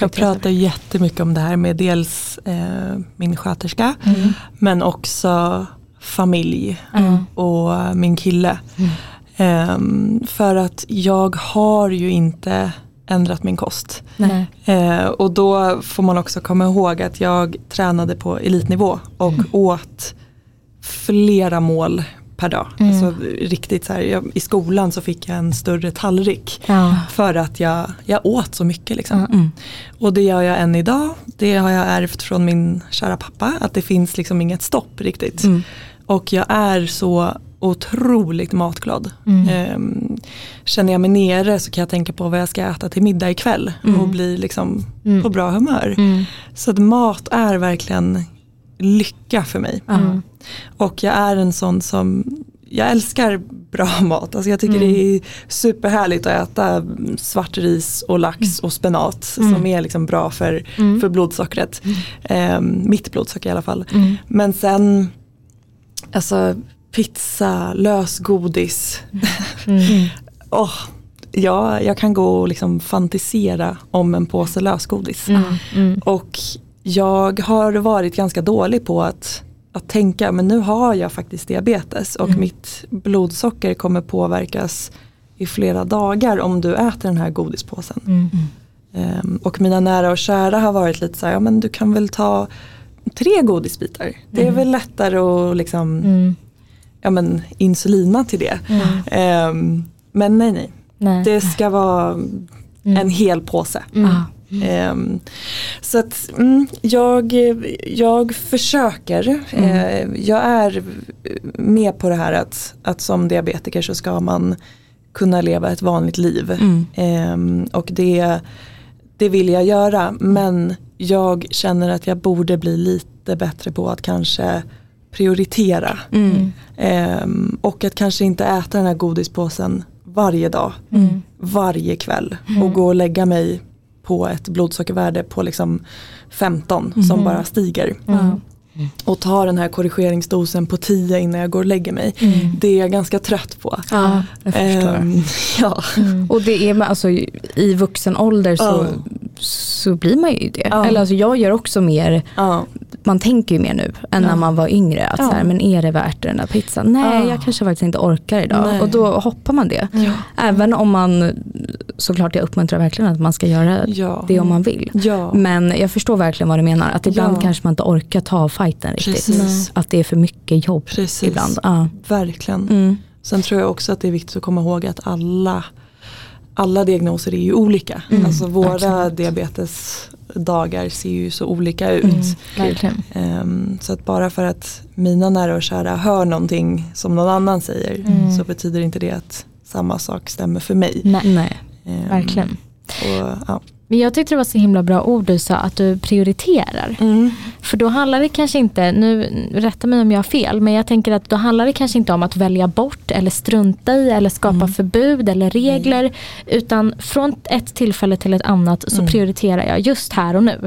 Speaker 3: Jag pratar jättemycket om det här med dels eh, min sköterska
Speaker 2: Mm.
Speaker 3: men också familj
Speaker 2: Ja.
Speaker 3: och min kille.
Speaker 2: Mm.
Speaker 3: Ehm, för att jag har ju inte ändrat min kost.
Speaker 2: Nej.
Speaker 3: Eh, och då får man också komma ihåg att jag tränade på elitnivå och
Speaker 2: Mm.
Speaker 3: åt flera mål per dag.
Speaker 2: Mm.
Speaker 3: Alltså, riktigt så här, jag, I skolan så fick jag en större tallrik
Speaker 2: Ja.
Speaker 3: för att jag, jag åt så mycket. Liksom.
Speaker 1: Mm.
Speaker 3: Och det gör jag än idag. Det har jag ärvt från min kära pappa. Att det finns liksom inget stopp riktigt.
Speaker 1: Mm.
Speaker 3: Och jag är så otroligt matglad.
Speaker 2: Mm.
Speaker 3: Ehm, känner jag mig nere så kan jag tänka på vad jag ska äta till middag ikväll. Och bli liksom
Speaker 2: Mm.
Speaker 3: på bra humör.
Speaker 2: Mm.
Speaker 3: Så att mat är verkligen lycka för mig.
Speaker 2: Mm.
Speaker 1: Ja.
Speaker 3: Och jag är en sån som, jag älskar bra mat. Alltså jag tycker det är superhärligt att äta svart ris och lax och spenat som är liksom bra för, för blodsockret. Ehm, mitt blodsocker i alla fall. Men sen, alltså pizza, lösgodis. Åh, ja, jag kan gå och liksom fantisera om en påse lösgodis.
Speaker 2: Mm, mm.
Speaker 3: Och jag har varit ganska dålig på att, att tänka, men nu har jag faktiskt diabetes och
Speaker 2: Mm.
Speaker 3: mitt blodsocker kommer påverkas i flera dagar om du äter den här godispåsen.
Speaker 2: Mm.
Speaker 3: Ehm, och mina nära och kära har varit lite så här, ja men du kan väl ta tre godisbitar. Det är väl lättare att liksom,
Speaker 2: Mm.
Speaker 3: ja men insulina till det.
Speaker 2: Mm.
Speaker 3: Ehm, men nej nej,
Speaker 2: Nej.
Speaker 3: det ska vara en hel påse.
Speaker 2: Mm.
Speaker 1: Ah.
Speaker 3: Ehm, så att mm, jag, jag försöker, eh, jag är med på det här att, att som diabetiker så ska man kunna leva ett vanligt liv.
Speaker 1: Mm.
Speaker 3: Ehm, och det, det vill jag göra men jag känner att jag borde bli lite bättre på att kanske prioritera.
Speaker 1: Mm.
Speaker 3: Ehm, och att kanske inte äta den här godispåsen varje dag,
Speaker 1: Mm.
Speaker 3: varje kväll och gå och lägga mig på ett blodsockervärde på liksom 15 som bara stiger.
Speaker 2: Mm.
Speaker 1: Ja.
Speaker 3: Och ta den här korrigeringsdosen på 10 innan jag går och lägger mig.
Speaker 1: Mm.
Speaker 2: Mm.
Speaker 3: Det är jag ganska trött på.
Speaker 2: Ah.
Speaker 1: Ja, jag förstår.
Speaker 3: Ehm, ja.
Speaker 1: Och det är man- alltså, i vuxen ålder så, så blir man ju det.
Speaker 3: Ja.
Speaker 1: Eller alltså, jag gör också mer,
Speaker 3: Ja.
Speaker 1: man tänker ju mer nu än när man var yngre. Att så här, men är det värt den där pizzan? Nej
Speaker 2: Ah.
Speaker 3: Ja.
Speaker 1: jag kanske faktiskt inte orkar idag.
Speaker 3: Nej.
Speaker 1: Och då hoppar man det. Även om man, såklart jag uppmuntrar verkligen att man ska göra
Speaker 3: Ja.
Speaker 1: det om man vill.
Speaker 3: Ja.
Speaker 1: Men jag förstår verkligen vad du menar. Att ibland
Speaker 3: Ja.
Speaker 1: kanske man inte orkar ta fighten riktigt. Mm.
Speaker 3: Precis.
Speaker 1: Att det är för mycket jobb
Speaker 3: Precis.
Speaker 1: ibland. Ja.
Speaker 3: Mm. Verkligen.
Speaker 1: Mm.
Speaker 3: Sen tror jag också att det är viktigt att komma ihåg att alla, alla diagnoser är ju olika. alltså våra diabetesdagar ser ju så olika ut.
Speaker 1: Mm.
Speaker 2: Mm. Verkligen.
Speaker 3: Ehm, så att bara för att mina nära och kära hör någonting som någon annan säger
Speaker 1: Mm.
Speaker 3: så betyder inte det att samma sak stämmer för mig.
Speaker 2: Nej,
Speaker 1: Nej.
Speaker 3: Ehm,
Speaker 2: verkligen.
Speaker 3: Och, ja.
Speaker 2: Men jag tyckte det var så himla bra ord du sa, att du prioriterar.
Speaker 3: mm.
Speaker 2: För då handlar det kanske inte, nu rätta mig om jag har fel, men jag tänker att då handlar det kanske inte om att välja bort eller strunta i eller skapa
Speaker 1: Mm.
Speaker 2: förbud eller regler. Utan från ett tillfälle till ett annat så
Speaker 1: Mm.
Speaker 2: prioriterar jag just här och nu.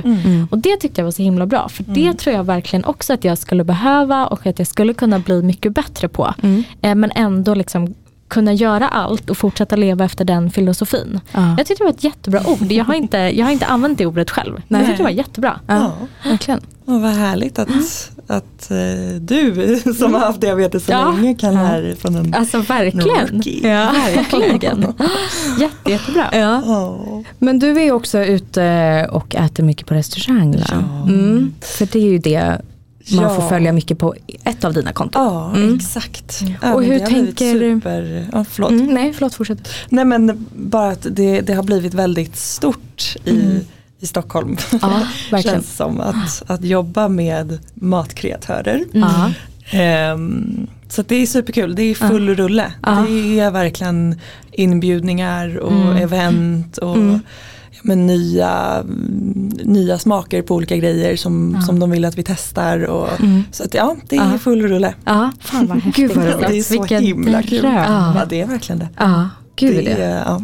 Speaker 2: Och det tyckte jag var så himla bra. För
Speaker 1: Mm.
Speaker 2: det tror jag verkligen också att jag skulle behöva och att jag skulle kunna bli mycket bättre på.
Speaker 1: Mm.
Speaker 2: Eh, Men ändå liksom kunna göra allt och fortsätta leva efter den filosofin.
Speaker 1: Ja.
Speaker 2: Jag tyckte det var ett jättebra ord. Jag har inte, jag har inte använt det ordet själv. Men
Speaker 1: Nej.
Speaker 2: jag tyckte det var jättebra.
Speaker 1: Ja. Verkligen.
Speaker 3: Och vad härligt
Speaker 1: Mm.
Speaker 3: att, att eh, du som har haft diabetes så
Speaker 2: Ja.
Speaker 3: länge kan lära från en
Speaker 2: Alltså verkligen.
Speaker 3: Rookie.
Speaker 2: Ja. Verkligen. Jätte, jättebra.
Speaker 1: Ja.
Speaker 3: Ja.
Speaker 1: Men du är ju också ute och äter mycket på restaurang. va? Mm, för det är ju det man
Speaker 3: Ja.
Speaker 1: får följa mycket på ett av dina konton.
Speaker 3: Ja,
Speaker 1: Mm.
Speaker 3: exakt.
Speaker 1: Och
Speaker 3: men
Speaker 1: hur
Speaker 3: det har blivit
Speaker 1: tänker-
Speaker 3: Super... Ja, förlåt.
Speaker 1: Mm, nej, förlåt fortsätt.
Speaker 3: Nej men bara att det, det har blivit väldigt stort i,
Speaker 1: Mm.
Speaker 3: i Stockholm.
Speaker 1: Ja, verkligen.
Speaker 3: Känns som att, att jobba med matkreatörer.
Speaker 1: Ja.
Speaker 3: Ehm, så att det är superkul, det är full rulle. Det är verkligen inbjudningar och event och ja, men nya, nya smaker på olika grejer som, som de vill att vi testar. Och, Så att Mm. ja, det är full rulle.
Speaker 1: Mm. Ja.
Speaker 2: Fan vad häftigt.
Speaker 1: Gud vad
Speaker 3: Det
Speaker 1: roligt.
Speaker 3: är så
Speaker 2: Vilken
Speaker 3: himla kul.
Speaker 2: dröm.
Speaker 3: Ja. det är verkligen det.
Speaker 1: Ja, gud det.
Speaker 3: det är, ja.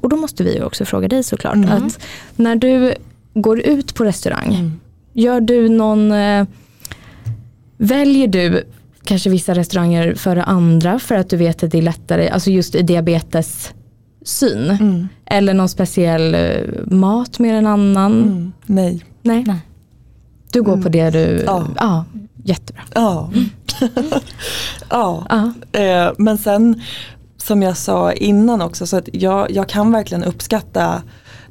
Speaker 1: Och då måste vi ju också fråga dig såklart.
Speaker 3: Mm.
Speaker 1: Att när du går ut på restaurang, gör du någon, eh, väljer du kanske vissa restauranger före andra för att du vet att det är lättare, alltså just i diabetes syn.
Speaker 3: Mm.
Speaker 1: Eller någon speciell eh, mat mer än annan.
Speaker 3: Mm. Nej.
Speaker 1: Nej.
Speaker 2: Nej.
Speaker 1: Du går på det du, ja,
Speaker 3: Mm. Ja.
Speaker 1: jättebra.
Speaker 3: Ja. ja.
Speaker 1: Ja.
Speaker 3: Eh, men sen som jag sa innan också så att jag, jag kan verkligen uppskatta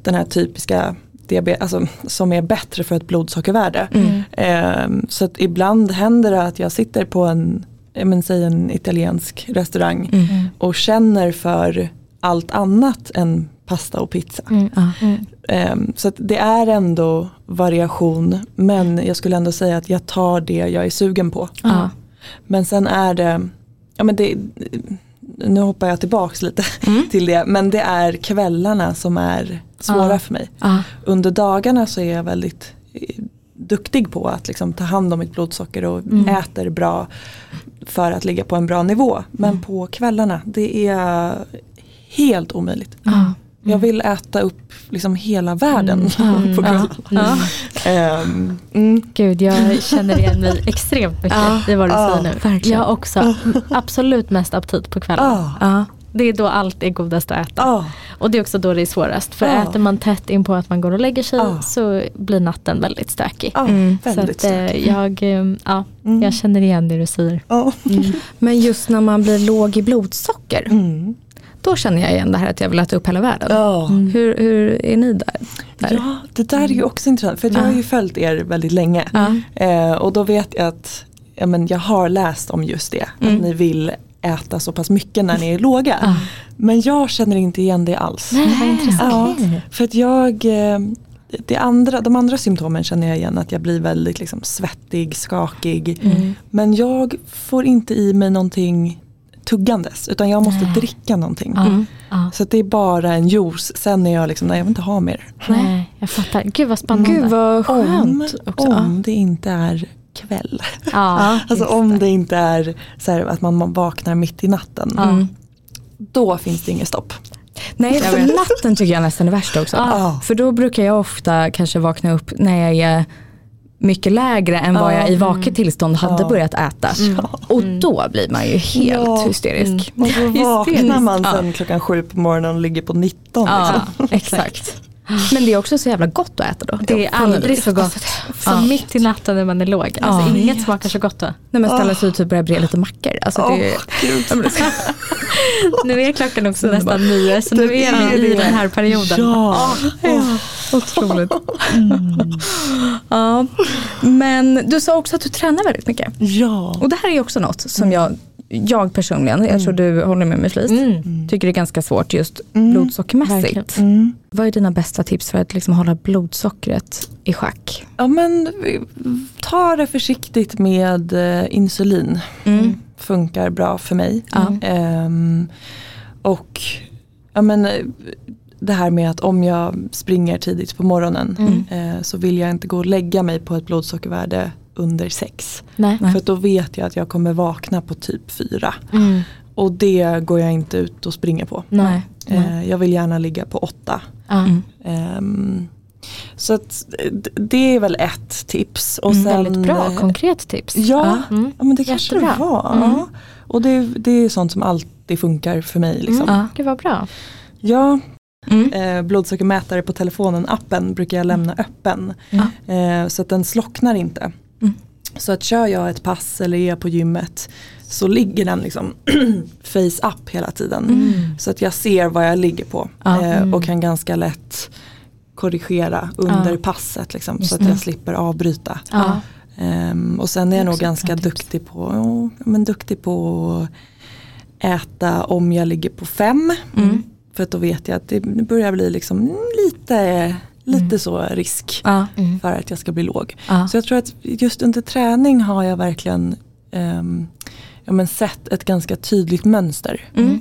Speaker 3: den här typiska diabetes, alltså, som är bättre för ett blodsockervärde.
Speaker 2: Mm.
Speaker 1: Mm.
Speaker 3: Eh, så att ibland händer det att jag sitter på en, ja, men, säg en italiensk restaurang
Speaker 1: Mm.
Speaker 3: och känner för allt annat än pasta och pizza.
Speaker 2: Mm.
Speaker 1: Ja.
Speaker 3: Ehm, Så att det är ändå variation men jag skulle ändå säga att jag tar det jag är sugen på.
Speaker 1: Ja.
Speaker 3: Men sen är det, ja men det, nu hoppar jag tillbaks lite
Speaker 2: Mm.
Speaker 3: till det, men det är kvällarna som är svåra
Speaker 2: Ah.
Speaker 3: för mig.
Speaker 1: Ja.
Speaker 3: Under dagarna så är jag väldigt eh, duktig på att liksom ta hand om mitt blodsocker och
Speaker 2: Mm.
Speaker 3: äter bra för att ligga på en bra nivå. Men
Speaker 2: Mm.
Speaker 3: på kvällarna, det är helt omöjligt.
Speaker 1: Ja.
Speaker 2: Mm.
Speaker 3: Jag vill äta upp liksom hela världen på kvällen.
Speaker 1: Mm.
Speaker 2: Ja.
Speaker 3: Ehm, mm.
Speaker 2: Gud, jag känner igen mig extremt mycket i vad du
Speaker 3: Ja,
Speaker 2: säger nu.
Speaker 1: verkligen.
Speaker 2: Jag har också absolut mest aptit på kvällen.
Speaker 3: ah,
Speaker 1: Ja.
Speaker 2: det är då allt är godast att äta.
Speaker 3: Ja,
Speaker 2: Och det är också då det är svårast. För
Speaker 3: Ja.
Speaker 2: äter man tätt in på att man går och lägger sig
Speaker 3: Ja.
Speaker 2: så blir natten väldigt stökig.
Speaker 3: ja,
Speaker 1: Mm.
Speaker 2: Så
Speaker 3: ah, väldigt
Speaker 2: att, eh,
Speaker 3: stökigt.
Speaker 2: jag, eh, ja,
Speaker 3: Mm.
Speaker 2: jag känner igen det du säger.
Speaker 3: Ja.
Speaker 1: Men just när man blir låg i blodsocker,
Speaker 3: Mm.
Speaker 1: då känner jag igen det här att jag vill äta upp hela världen.
Speaker 3: Ja.
Speaker 1: Hur, hur är ni där? där?
Speaker 3: Ja, det där är ju också intressant för att jag har ju följt er väldigt länge.
Speaker 1: Ja.
Speaker 3: Eh, och då vet jag att ja, men jag har läst om just det, att ni vill äta så pass mycket när ni är låga. Men jag känner inte igen det alls.
Speaker 2: Nej, vad intressant.
Speaker 3: Ja, för att jag, eh, det andra, de andra symptomen känner jag igen, att jag blir väldigt liksom, svettig, skakig. Men jag får inte i mig någonting tuggandes utan jag måste dricka någonting.
Speaker 2: Ja.
Speaker 3: Så att det är bara en juice, sen är jag liksom, nej jag vill inte ha mer.
Speaker 2: Nej, jag fattar. Gud vad spännande.
Speaker 1: Mm. Gud vad
Speaker 3: Om,
Speaker 1: skönt också.
Speaker 3: om det inte är kväll.
Speaker 2: Ja.
Speaker 3: Alltså om det inte är så här att man vaknar mitt i natten. Då finns det inget stopp.
Speaker 1: Nej, för natten tycker jag nästan är värst också.
Speaker 3: Ja.
Speaker 1: För då brukar jag ofta kanske vakna upp när jag är mycket lägre än vad
Speaker 3: Ja. Mm.
Speaker 1: jag i vaket tillstånd hade börjat äta. Och då blir man ju helt
Speaker 3: Ja. Mm.
Speaker 1: hysterisk.
Speaker 3: Och så vaknar
Speaker 1: Hysteriskt.
Speaker 3: man
Speaker 1: Ja.
Speaker 3: sen klockan sju på morgonen och ligger på 19.
Speaker 1: Ja,
Speaker 3: Liksom.
Speaker 1: exakt. Men det är också så jävla gott att äta då.
Speaker 2: Det är aldrig så gott som
Speaker 1: Ja.
Speaker 2: Alltså, mitt i natten när man är låg. Alltså, inget smakar så gott då.
Speaker 1: När man
Speaker 3: Ah.
Speaker 1: ställer sig ut och börjar bre lite mackor. Alltså det är,
Speaker 3: Åh, gud.
Speaker 2: Nu är klockan också nästan nio så nu är
Speaker 3: är
Speaker 2: vi i
Speaker 3: det.
Speaker 2: den här perioden.
Speaker 3: Ja.
Speaker 1: Otroligt. Mm. Ja. Men du sa också att du tränar väldigt mycket.
Speaker 3: ja.
Speaker 1: Och det här är ju också något som jag, jag personligen, jag tror du håller med mig Flis,
Speaker 2: Mm.
Speaker 1: tycker det är ganska svårt just blodsockermässigt.
Speaker 3: Mm.
Speaker 1: Vad är dina bästa tips för att liksom hålla blodsockret i schack?
Speaker 3: ja men vi- ta det försiktigt med eh, insulin.
Speaker 1: Mm.
Speaker 3: Funkar bra för mig.
Speaker 1: Ja.
Speaker 3: Ehm, och ja, men, eh, det här med att om jag springer tidigt på morgonen
Speaker 2: Mm.
Speaker 3: eh, så vill jag inte gå och lägga mig på ett blodsockervärde under sex.
Speaker 2: Nej.
Speaker 1: Nej.
Speaker 3: För att då vet jag att jag kommer vakna på typ fyra.
Speaker 2: Mm.
Speaker 3: Och det går jag inte ut och springer på.
Speaker 2: Nej.
Speaker 3: Eh, jag vill gärna ligga på åtta.
Speaker 2: Ja.
Speaker 3: Ehm, så att, eh, d- det är väl ett tips. Och sen,
Speaker 2: Mm, Väldigt bra,
Speaker 3: eh,
Speaker 2: konkret tips.
Speaker 3: Ja,
Speaker 2: Mm.
Speaker 3: ja men det kanske det
Speaker 2: Jättebra.
Speaker 3: var. Ja. Och det, det är sånt som alltid funkar för mig. Liksom.
Speaker 1: Ja.
Speaker 2: Mm. Gud vad bra.
Speaker 3: Ja,
Speaker 1: Mm.
Speaker 3: eh, blodsockermätare på telefonen, appen brukar jag lämna öppen. Eh, så att den slocknar inte. Så att kör jag ett pass eller är jag på gymmet så ligger den liksom face up hela tiden.
Speaker 2: Mm.
Speaker 3: Så att jag ser vad jag ligger på eh, och kan ganska lätt korrigera under passet liksom, så att jag slipper avbryta.
Speaker 2: Ja.
Speaker 3: Ehm, och sen är jag nog
Speaker 2: också ett
Speaker 3: ganska
Speaker 2: bra tips.
Speaker 3: duktig på, ja, men duktig på att äta om jag ligger på fem.
Speaker 1: Mm.
Speaker 3: För att då vet jag att det börjar bli liksom mm, lite, lite så risk
Speaker 1: Ja.
Speaker 2: Mm.
Speaker 3: för att jag ska bli låg.
Speaker 1: Ja.
Speaker 3: Så jag tror att just under träning har jag verkligen ehm, ja, men sett ett ganska tydligt mönster.
Speaker 1: Mm.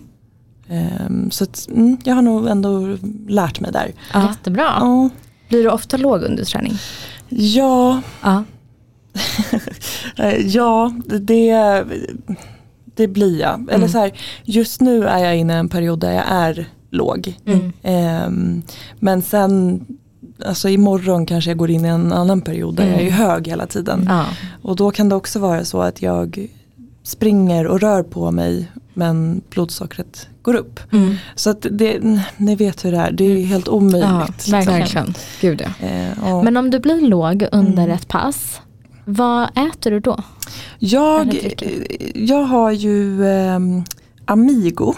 Speaker 3: Ehm, så att, mm, jag har nog ändå lärt mig där.
Speaker 2: Jättebra.
Speaker 3: Ja,
Speaker 1: Blir du ofta låg under träning?
Speaker 3: ja
Speaker 1: Ja.
Speaker 3: Eh, Ja, det, det blir jag. Eller så här, just nu är jag inne i en period där jag är låg.
Speaker 2: Mm.
Speaker 3: Ehm, men sen, alltså imorgon kanske jag går in i en annan period där jag är hög hela tiden.
Speaker 1: Ja.
Speaker 3: Och då kan det också vara så att jag springer och rör på mig men blodsockret går upp.
Speaker 1: Mm.
Speaker 3: Så att det, ni vet hur det är, det är ju helt omöjligt. liksom.
Speaker 2: verkligen.
Speaker 1: Gud ja.
Speaker 3: Eh, ja.
Speaker 2: Men om du blir låg under
Speaker 3: Mm.
Speaker 2: ett pass, vad äter du då?
Speaker 3: Jag,
Speaker 2: Eller dricker?
Speaker 3: jag har ju ehm, Amigo,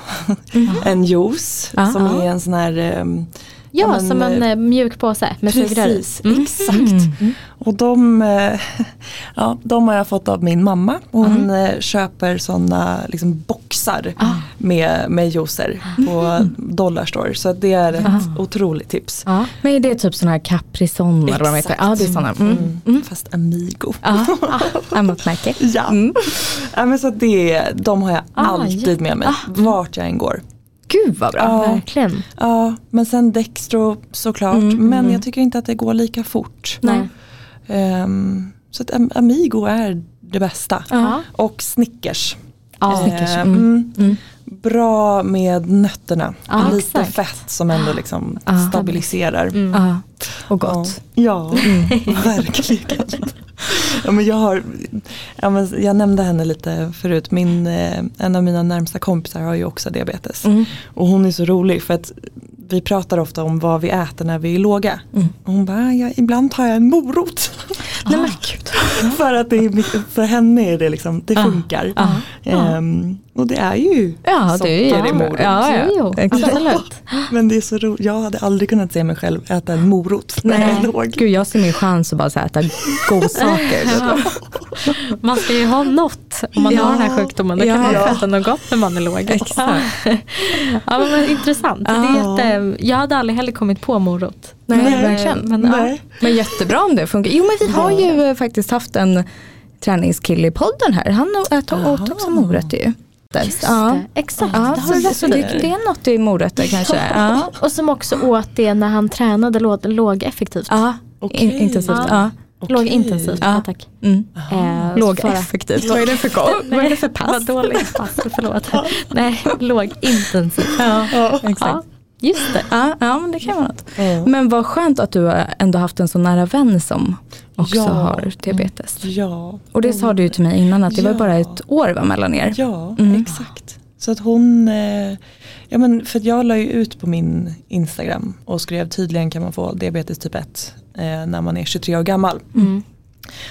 Speaker 3: en juice
Speaker 1: Ja.
Speaker 3: som är en sån här ehm,
Speaker 2: Mm. Ah. Ja,
Speaker 3: Ja, men,
Speaker 2: som en
Speaker 3: eh,
Speaker 2: eh, mjuk påse med sugrör Mm. i.
Speaker 3: Precis, exakt. Och de, eh, ja, de har jag fått av min mamma. Hon
Speaker 2: Mm.
Speaker 3: eh, köper sådana liksom, boxar
Speaker 2: Ah.
Speaker 3: med, med juicer
Speaker 2: Mm.
Speaker 3: på dollarstore. Så det är ett
Speaker 2: Ah.
Speaker 3: otroligt tips.
Speaker 2: Ja.
Speaker 1: Men är det typ sådana här Caprison eller vad de heter?
Speaker 3: Exakt.
Speaker 1: Ja, det är sådana. Mm.
Speaker 3: Fast Amigo.
Speaker 1: Ja. Annat märke.
Speaker 3: Ja. ja men så det, de har jag
Speaker 2: Ah,
Speaker 3: alltid med mig, vart jag än går.
Speaker 1: Gud vad bra.
Speaker 3: Ja.
Speaker 2: Verkligen.
Speaker 3: Ja, men sen Dextro såklart. men jag tycker inte att det går lika fort.
Speaker 2: Mm, Nej.
Speaker 3: Ehm, så att Am- Amigo är det bästa.
Speaker 2: Ja.
Speaker 3: Och Snickers.
Speaker 2: Ja. mm.
Speaker 1: Snickers,
Speaker 3: Ehm, Bra med nötterna.
Speaker 2: Ja,
Speaker 3: Lite
Speaker 2: exakt. Mm.
Speaker 3: fett som ändå liksom stabiliserar.
Speaker 1: Ja. Och gott.
Speaker 3: Ja, ja Mm. verkligen. ja, men jag, har, ja, men jag nämnde henne lite förut, Min, eh, en av mina närmsta kompisar har ju också diabetes.
Speaker 1: Mm.
Speaker 3: Och hon är så rolig för att vi pratar ofta om vad vi äter när vi är låga.
Speaker 1: Mm. Ah.
Speaker 3: Och hon bara, ja, ibland tar jag en morot.
Speaker 1: Nej, men,
Speaker 3: för, att det är, mycket- för henne är det liksom, det
Speaker 1: Ja.
Speaker 3: funkar.
Speaker 1: ja.
Speaker 3: Ehm, och det är ju
Speaker 1: Ah. ja, det är
Speaker 3: socker i
Speaker 1: ju
Speaker 3: morot.
Speaker 1: Ja, ja.
Speaker 2: Jo,
Speaker 1: Exakt.
Speaker 2: absolut.
Speaker 3: Men det är så roligt, jag hade aldrig kunnat se mig själv äta en morot när jag
Speaker 1: Nej,
Speaker 3: är låg.
Speaker 1: gud jag ser min chans att bara så här, äta godsaker.
Speaker 2: Ja. Man ska ju ha något om man
Speaker 1: Ja.
Speaker 2: har den här sjukdomen. Då kan man ju
Speaker 1: Ja.
Speaker 2: äta något gott när man är låg. Ja, men intressant. Det är
Speaker 3: Ja.
Speaker 2: jätte, jag hade aldrig heller kommit på morot.
Speaker 1: Nej,
Speaker 2: Men,
Speaker 1: verkligen.
Speaker 2: Men, ja.
Speaker 3: Nej.
Speaker 1: Men jättebra om det funkar. Jo men vi har ju eh, faktiskt haft en träningskille i podden här. Han åt, åt också morötter ju.
Speaker 2: Just
Speaker 1: ja.
Speaker 2: det, exakt.
Speaker 1: Ja,
Speaker 2: det har du
Speaker 1: så,
Speaker 2: rätt
Speaker 1: så det,
Speaker 2: i.
Speaker 1: det är något i morötter kanske. Ja,
Speaker 2: Och som också åt det när han tränade låg, lågeffektivt.
Speaker 1: ja.
Speaker 3: Okej.
Speaker 1: In, intensivt. Ja.
Speaker 2: Ja.
Speaker 3: Okej.
Speaker 2: Lågintensivt,
Speaker 1: Ja.
Speaker 2: ja. tack.
Speaker 1: Mm.
Speaker 2: Eh, för att-
Speaker 1: Lågeffektivt, vad är det för gång? Vad är det för pass?
Speaker 2: Vad dåligt pass, förlåt. Nej, lågintensivt. Ja.
Speaker 3: Ja.
Speaker 2: Ja, just det.
Speaker 1: Ja, ja, men det kan vara något.
Speaker 3: Ja.
Speaker 1: Men vad skönt att du har ändå haft en så nära vän som också
Speaker 3: Ja.
Speaker 1: har diabetes.
Speaker 3: Ja,
Speaker 1: Och det sa du ju till mig innan att det var
Speaker 3: Mm. Ja.
Speaker 1: bara ett år va, mellan er.
Speaker 3: ja
Speaker 1: Mm.
Speaker 3: exakt. Så att hon, eh, ja men för att jag la ju ut på min Instagram och skrev tydligen kan man få diabetes typ 1 eh, när man är 23 år gammal.
Speaker 2: Mm.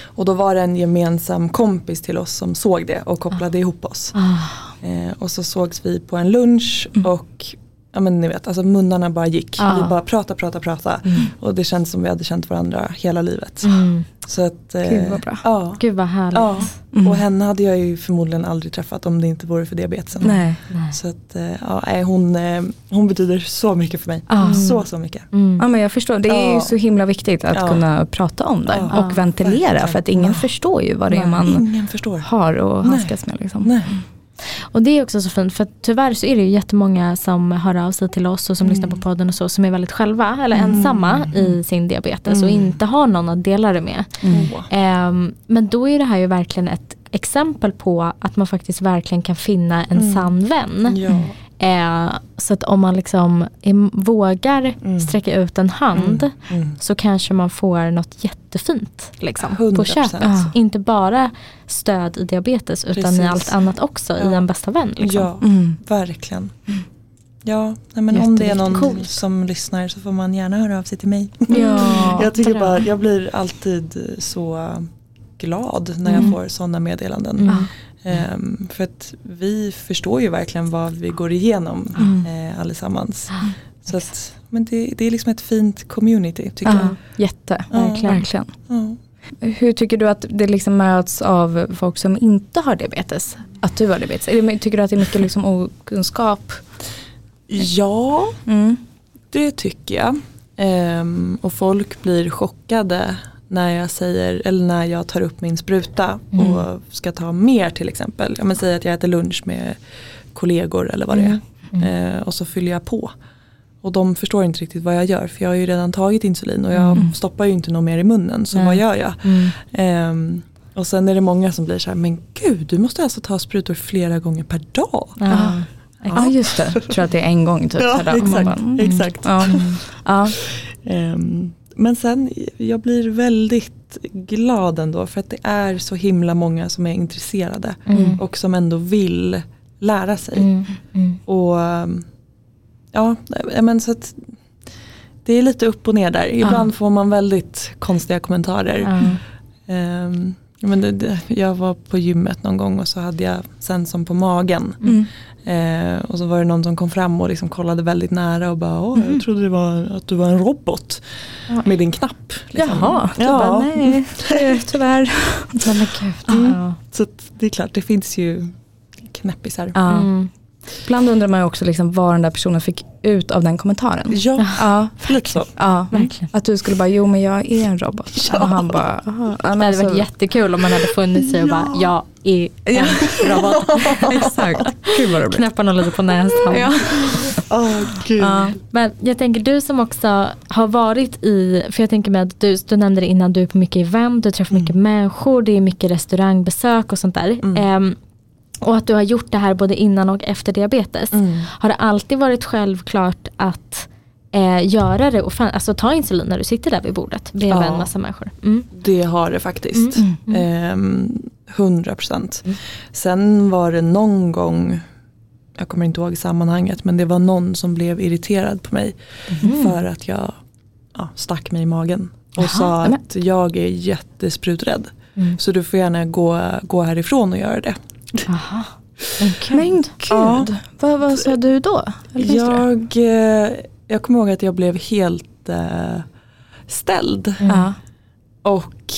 Speaker 3: Och då var det en gemensam kompis till oss som såg det och kopplade ihop oss.
Speaker 2: Ah,
Speaker 3: Eh, och så sågs vi på en lunch och ja men ni vet, alltså munnarna bara gick.
Speaker 2: Ja.
Speaker 3: Vi bara prata, prata, prata. Och det känns som vi hade känt varandra hela livet.
Speaker 2: Mm.
Speaker 3: Så att, eh,
Speaker 1: Gud, vad bra.
Speaker 3: Ja,
Speaker 2: Gud vad härligt.
Speaker 3: ja.
Speaker 1: Mm.
Speaker 3: Och henne hade jag ju förmodligen aldrig träffat om det inte vore för diabetesen.
Speaker 1: Nej.
Speaker 2: Nej.
Speaker 3: Så att, eh, ja, nej, hon, eh, hon betyder så mycket för mig.
Speaker 1: Ja.
Speaker 3: Så, så mycket.
Speaker 2: Mm.
Speaker 1: Ja, men jag förstår, det är ju
Speaker 3: Ja.
Speaker 1: så himla viktigt att
Speaker 3: Ja.
Speaker 1: kunna prata om det
Speaker 3: Ja.
Speaker 1: och ventilera
Speaker 3: Verkligen.
Speaker 1: för att ingen förstår ju vad det är
Speaker 3: Nej,
Speaker 1: man
Speaker 3: Ingen förstår.
Speaker 1: har och
Speaker 3: Nej.
Speaker 1: handskas med. Liksom.
Speaker 3: Nej.
Speaker 2: Och det är också så fint för att tyvärr så är det ju jättemånga som hör av sig till oss och som lyssnar
Speaker 1: Mm.
Speaker 2: på podden och så som är väldigt själva eller ensamma i sin diabetes
Speaker 1: Mm.
Speaker 2: och inte har någon att dela det med.
Speaker 3: Åh.
Speaker 2: Ehm, men då är det här ju verkligen ett exempel på att man faktiskt verkligen kan finna en
Speaker 1: Mm.
Speaker 2: sann vän.
Speaker 3: Ja. Mm.
Speaker 2: Eh, så att om man liksom em- vågar
Speaker 1: Mm.
Speaker 2: sträcka ut en hand
Speaker 3: Mm.
Speaker 2: så kanske man får något jättefint liksom, på
Speaker 3: 100%.
Speaker 2: köpet.
Speaker 1: Ja.
Speaker 2: Inte bara stöd i diabetes utan
Speaker 3: Precis.
Speaker 2: i allt annat också i en bästa vän. Liksom.
Speaker 3: ja,
Speaker 1: Mm.
Speaker 3: verkligen. Ja, nej, men om det är någon
Speaker 2: Jätteviktigt. Coolt.
Speaker 3: som lyssnar så får man gärna höra av sig till mig.
Speaker 2: Mm.
Speaker 1: Ja.
Speaker 3: jag tycker
Speaker 2: dröm.
Speaker 3: bara, jag blir alltid så glad när jag får sådana meddelanden.
Speaker 2: Mm.
Speaker 3: Ehm, för att vi förstår ju verkligen vad vi går igenom eh, allesammans. Så att, men det, det är liksom ett fint community tycker
Speaker 1: Ja,
Speaker 3: jag.
Speaker 1: jätte,
Speaker 3: Ja.
Speaker 1: verkligen. verkligen.
Speaker 3: Ja.
Speaker 1: Hur tycker du att det liksom möts av folk som inte har diabetes? Att du har diabetes? Är det- Tycker du att det är mycket liksom okunskap?
Speaker 3: Ja,
Speaker 1: Mm.
Speaker 3: det tycker jag. Ehm, och folk blir chockade när jag säger, eller när jag tar upp min spruta
Speaker 1: Mm.
Speaker 3: och ska ta mer till exempel. Jag säger att jag äter lunch med kollegor eller vad det
Speaker 1: Mm.
Speaker 3: är. Eh, och så fyller jag på. Och de förstår inte riktigt vad jag gör för jag har ju redan tagit insulin och jag
Speaker 1: Mm.
Speaker 3: stoppar ju inte något mer i munnen så vad gör jag? Ehm, och sen är det många som blir så här, men gud du måste alltså ta sprutor flera gånger per dag.
Speaker 2: Ja.
Speaker 1: Ja just det, jag tror att det är en gång typ.
Speaker 3: Ja,
Speaker 1: per dag. Man
Speaker 3: exakt,
Speaker 1: bara, mm.
Speaker 3: exakt.
Speaker 1: Ja. Ja.
Speaker 3: Ehm, Men sen, jag blir väldigt glad ändå för att det är så himla många som är intresserade
Speaker 2: Mm.
Speaker 3: och som ändå vill lära sig.
Speaker 2: Mm. Mm.
Speaker 3: Och ehm, ja, eh, men så att det är lite upp och ner där. Ibland får man väldigt konstiga kommentarer.
Speaker 2: Ja.
Speaker 3: Ehm, men det, det, jag var på gymmet någon gång och så hade jag sensorn på magen.
Speaker 1: Mm.
Speaker 3: Eh, och så var det någon som kom fram och liksom kollade väldigt nära och bara, Åh, jag trodde det var, att du var en robot med din knapp. Liksom.
Speaker 1: Jaha, du
Speaker 3: Ja.
Speaker 1: bara, nej tyvärr.
Speaker 2: Men gud. Mm. Ja.
Speaker 3: Så att det är klart, det finns ju knäppisar.
Speaker 1: Ja.
Speaker 2: Mm.
Speaker 1: Ibland undrar man ju också liksom vad den där personen fick ut av den kommentaren.
Speaker 3: Ja,
Speaker 1: Ja,
Speaker 3: lite så.
Speaker 1: ja.
Speaker 2: Verkligen.
Speaker 1: Att du skulle bara, jo men jag är en robot. Och han bara, "Jaha." ja, men
Speaker 2: Det hade varit
Speaker 1: alltså-
Speaker 2: jättekul om man hade funnits i och bara, jag är en robot.
Speaker 1: Exakt, gud vad roligt.
Speaker 2: Knäpparna lite på näsan.
Speaker 3: Åh gud.
Speaker 1: Ja.
Speaker 2: Men jag tänker du som också har varit i, för jag tänker med att du, du nämnde det innan, du är på mycket event, du träffar mycket människor, det är mycket restaurangbesök och sånt där. Ehm, och att du har
Speaker 3: Mm.
Speaker 2: gjort det här både innan och efter diabetes. Har det alltid varit självklart att eh, göra det, och fan, alltså ta insulin när du sitter där vid bordet bredvid
Speaker 3: Ja.
Speaker 2: en massa människor. Mm.
Speaker 3: Det har det faktiskt.
Speaker 2: Mm, mm,
Speaker 3: Ehm, 100 procent.
Speaker 2: Mm.
Speaker 3: Sen var det någon gång, jag kommer inte ihåg sammanhanget, men det var någon som blev irriterad på mig för att jag ja, stack mig i magen och
Speaker 2: Mm. Jaha,
Speaker 3: sa
Speaker 1: nämen.
Speaker 3: att jag är jättespruträdd.
Speaker 2: Mm.
Speaker 3: Så du får gärna gå, gå härifrån och göra det.
Speaker 2: Aha. Men gud.
Speaker 1: Men gud,
Speaker 3: Ja.
Speaker 1: vad, vad sa du då? Eller minns du det?
Speaker 3: Jag, eh, jag kommer ihåg att jag blev helt eh, ställd.
Speaker 2: Mm.
Speaker 1: Ja.
Speaker 3: Och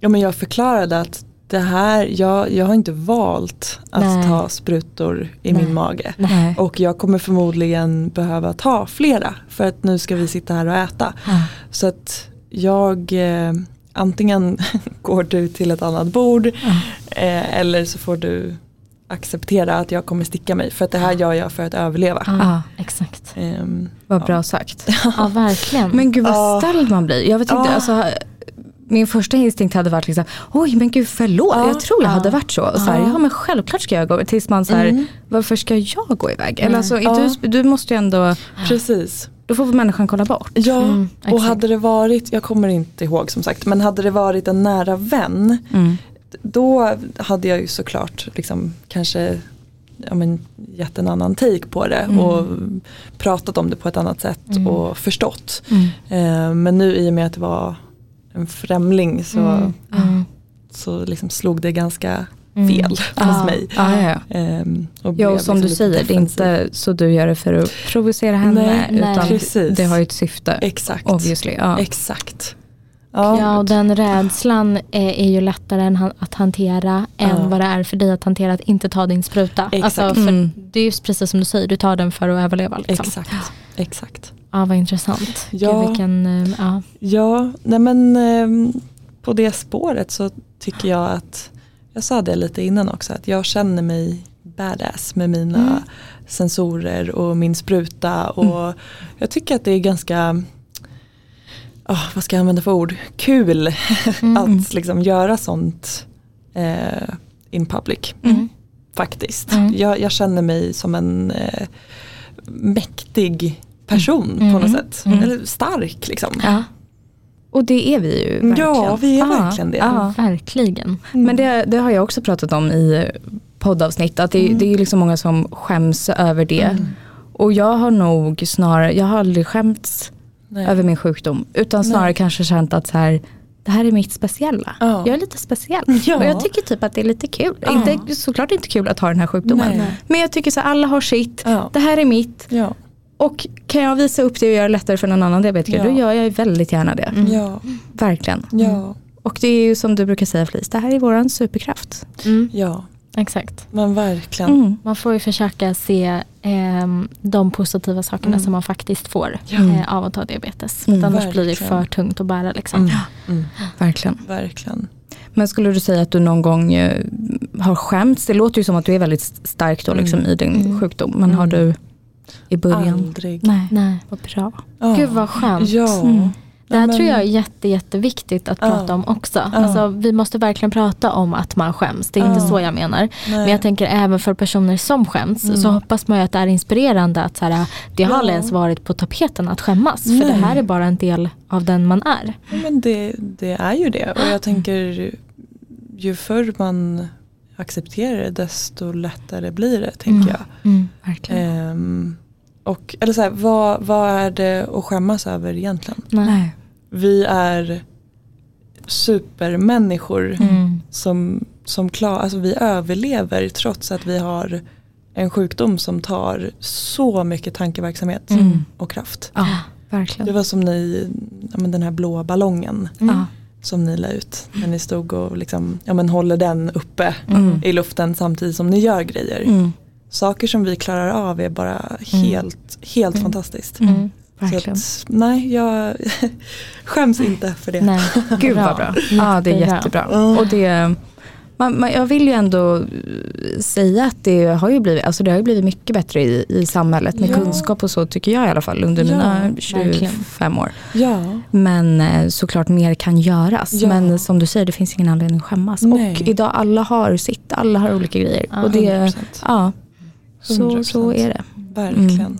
Speaker 3: ja, men jag förklarade att det här, jag, jag har inte valt att
Speaker 2: Nej.
Speaker 3: ta sprutor i
Speaker 2: Nej.
Speaker 3: min mage.
Speaker 1: Nej.
Speaker 3: Och jag kommer förmodligen behöva ta flera för att nu ska vi sitta här och äta.
Speaker 2: Ja.
Speaker 3: Så att jag, eh, antingen går du till ett annat bord eh, eller så får du acceptera att jag kommer sticka mig för att det här gör jag för att överleva.
Speaker 2: Ja,
Speaker 1: Ja.
Speaker 2: exakt.
Speaker 3: Ehm,
Speaker 1: Vad bra sagt.
Speaker 2: Ja, verkligen.
Speaker 1: Men gud
Speaker 3: Ja.
Speaker 1: vad ställd man blir. Jag vet inte,
Speaker 3: Ja.
Speaker 1: alltså, min första instinkt hade varit liksom, oj men gud förlåt,
Speaker 3: Ja.
Speaker 1: jag tror jag hade varit så. Och så här,
Speaker 3: Ja.
Speaker 1: ja men självklart ska jag gå, tills man så här,
Speaker 3: Mm.
Speaker 1: varför ska jag gå iväg?
Speaker 2: Mm.
Speaker 1: Eller alltså, är
Speaker 3: Ja.
Speaker 1: du, du måste ju ändå,
Speaker 3: Precis.
Speaker 1: då får väl människan kolla bort.
Speaker 3: Ja,
Speaker 2: Mm,
Speaker 3: och
Speaker 2: exakt.
Speaker 3: hade det varit, jag kommer inte ihåg som sagt, men hade det varit en nära vän
Speaker 1: Mm.
Speaker 3: då hade jag ju såklart liksom, kanske ja, men, gett en annan take på det
Speaker 1: Mm.
Speaker 3: och pratat om det på ett annat sätt och förstått. Eh, men nu i och med att det var en främling så,
Speaker 2: Mm.
Speaker 3: så liksom slog det ganska
Speaker 2: Mm.
Speaker 3: fel hos mig.
Speaker 1: Ja, ja, ja.
Speaker 3: Ehm, och
Speaker 1: Ja
Speaker 3: blev
Speaker 1: och som
Speaker 3: liksom
Speaker 1: du
Speaker 3: lite
Speaker 1: säger, det är
Speaker 3: defensiv.
Speaker 1: inte så du gör det för att provocera henne
Speaker 3: Nej,
Speaker 2: nej.
Speaker 1: utan
Speaker 3: Precis.
Speaker 1: det har ju ett syfte.
Speaker 3: Exakt.
Speaker 1: Obviously. Ja.
Speaker 3: Exakt. Ja.
Speaker 2: Ja, och den rädslan är, är ju lättare än han, att hantera
Speaker 3: Ja.
Speaker 2: än vad det är för dig att hantera att inte ta din spruta.
Speaker 3: Exakt.
Speaker 2: Alltså, för
Speaker 1: Mm.
Speaker 2: Det är ju precis som du säger, du tar den för att överleva. Liksom.
Speaker 3: Exakt. Exakt.
Speaker 2: Ja, vad intressant.
Speaker 3: Ja.
Speaker 2: Gud, vilken, eh, ja.
Speaker 3: Ja, nej men ehm, på det spåret så tycker jag att, jag sa det lite innan också, att jag känner mig badass med mina
Speaker 1: Mm.
Speaker 3: sensorer och min spruta och jag tycker att det är ganska, ah, vad ska jag använda för ord, kul
Speaker 2: Mm.
Speaker 1: Mm.
Speaker 3: att liksom göra sånt eh, in public
Speaker 2: Mm.
Speaker 3: faktiskt.
Speaker 2: Mm.
Speaker 3: Jag, jag känner mig som en eh, mäktig person på
Speaker 1: Mm.
Speaker 3: något sätt, eller stark liksom.
Speaker 2: Ja.
Speaker 1: Och det är vi ju verkligen.
Speaker 3: Ja, vi är verkligen det.
Speaker 1: ja.
Speaker 2: Verkligen.
Speaker 1: Men det, det har jag också pratat om i poddavsnitt, att
Speaker 3: Mm.
Speaker 1: det, det är ju liksom många som skäms över det. Och jag har nog snarare, jag har aldrig skämts
Speaker 3: Nej.
Speaker 1: över min sjukdom, utan snarare kanske känt att så här, det här är mitt speciella.
Speaker 3: Ja.
Speaker 1: Jag är lite speciell.
Speaker 3: Ja.
Speaker 1: Och jag tycker typ att det är lite kul. Inte, såklart inte kul att ha den här sjukdomen.
Speaker 3: Nej. Nej.
Speaker 1: Men jag tycker så här, alla har sitt,
Speaker 3: Ja.
Speaker 1: det här är mitt.
Speaker 3: Ja.
Speaker 1: Och kan jag visa upp det och göra det lättare för någon annan diabetiker,
Speaker 3: Ja. Mm.
Speaker 1: då gör jag ju väldigt gärna det.
Speaker 3: Ja.
Speaker 1: Mm. Verkligen.
Speaker 3: Ja.
Speaker 1: Och det är ju som du brukar säga Felice, det här är våran superkraft.
Speaker 2: Mm.
Speaker 3: ja,
Speaker 2: Exakt.
Speaker 3: men verkligen.
Speaker 1: Mm.
Speaker 2: Man får ju försöka se ehm, de positiva
Speaker 3: Mm.
Speaker 2: sakerna som man faktiskt får eh, av att ta diabetes.
Speaker 1: Mm,
Speaker 2: För annars blir det
Speaker 3: verkligen.
Speaker 2: för tungt att bära. Liksom.
Speaker 3: Mm. Mm.
Speaker 1: Verkligen.
Speaker 3: Verkligen.
Speaker 1: Men skulle du säga att du någon gång eh, har skämts? Det låter ju som att du är väldigt stark då liksom, i din sjukdom. Men har du i början?
Speaker 3: Aldrig.
Speaker 1: Mm. Nej.
Speaker 2: Nej.
Speaker 1: Vad bra.
Speaker 3: Ja.
Speaker 2: Gud vad skönt.
Speaker 3: Ja.
Speaker 1: Mm.
Speaker 2: Det här
Speaker 3: Men-
Speaker 2: tror jag är jätte, jätteviktigt att
Speaker 3: Ja.
Speaker 2: prata om också. Alltså, vi måste verkligen prata om att man skäms. Det är inte
Speaker 3: Ja.
Speaker 2: så jag menar.
Speaker 3: Nej. Mm.
Speaker 2: Men jag tänker även för personer som skäms så hoppas man ju att det är inspirerande att så här, det har
Speaker 3: Ja.
Speaker 2: aldrig ens varit på tapeten att skämmas. För
Speaker 3: Nej.
Speaker 2: det här är bara en del av den man är.
Speaker 3: Ja, Men det, det är ju det.
Speaker 1: Mm.
Speaker 3: Och jag tänker ju förr man accepterar det desto lättare blir det tänker jag.
Speaker 1: Mm.
Speaker 2: Mm.
Speaker 1: Verkligen.
Speaker 3: Ehm, och, eller så här, vad, vad är det att skämmas över egentligen?
Speaker 2: Nej.
Speaker 1: Nej.
Speaker 3: Vi är supermänniskor
Speaker 2: Mm.
Speaker 3: som, som klar, alltså vi överlever trots att vi har en sjukdom som tar så mycket tankeverksamhet och kraft.
Speaker 1: Mm. Ja,
Speaker 3: Det
Speaker 1: verkligen.
Speaker 3: var som ni, ja, men den här blåa ballongen
Speaker 1: Ja.
Speaker 3: som ni la ut. När ni stod och liksom, ja, men håller den uppe
Speaker 1: Mm.
Speaker 3: i luften samtidigt som ni gör grejer.
Speaker 1: Mm.
Speaker 3: Saker som vi klarar av är bara helt, helt fantastiskt.
Speaker 1: Mm.
Speaker 3: Så
Speaker 1: Verkligen.
Speaker 3: att, nej, jag skäms inte för det.
Speaker 2: Nej.
Speaker 1: Gud vad bra. Ja, det är jättebra.
Speaker 3: Mm.
Speaker 1: Och det, man, man, jag vill ju ändå eh, säga att det har ju blivit, alltså det har ju blivit mycket bättre i, i samhället med
Speaker 3: Ja.
Speaker 1: kunskap och så tycker jag i alla fall under
Speaker 3: Ja,
Speaker 1: mina 25
Speaker 2: verkligen.
Speaker 1: år.
Speaker 3: Ja,
Speaker 1: Men eh, såklart mer kan göras.
Speaker 3: Ja.
Speaker 1: Men som du säger, det finns ingen anledning att skämmas.
Speaker 3: Nej.
Speaker 1: Och idag alla har sitt, alla har olika grejer.
Speaker 2: Ja.
Speaker 1: och det, Mm.
Speaker 3: 100%.
Speaker 1: ja, så,
Speaker 3: 100%.
Speaker 1: så är det.
Speaker 3: verkligen.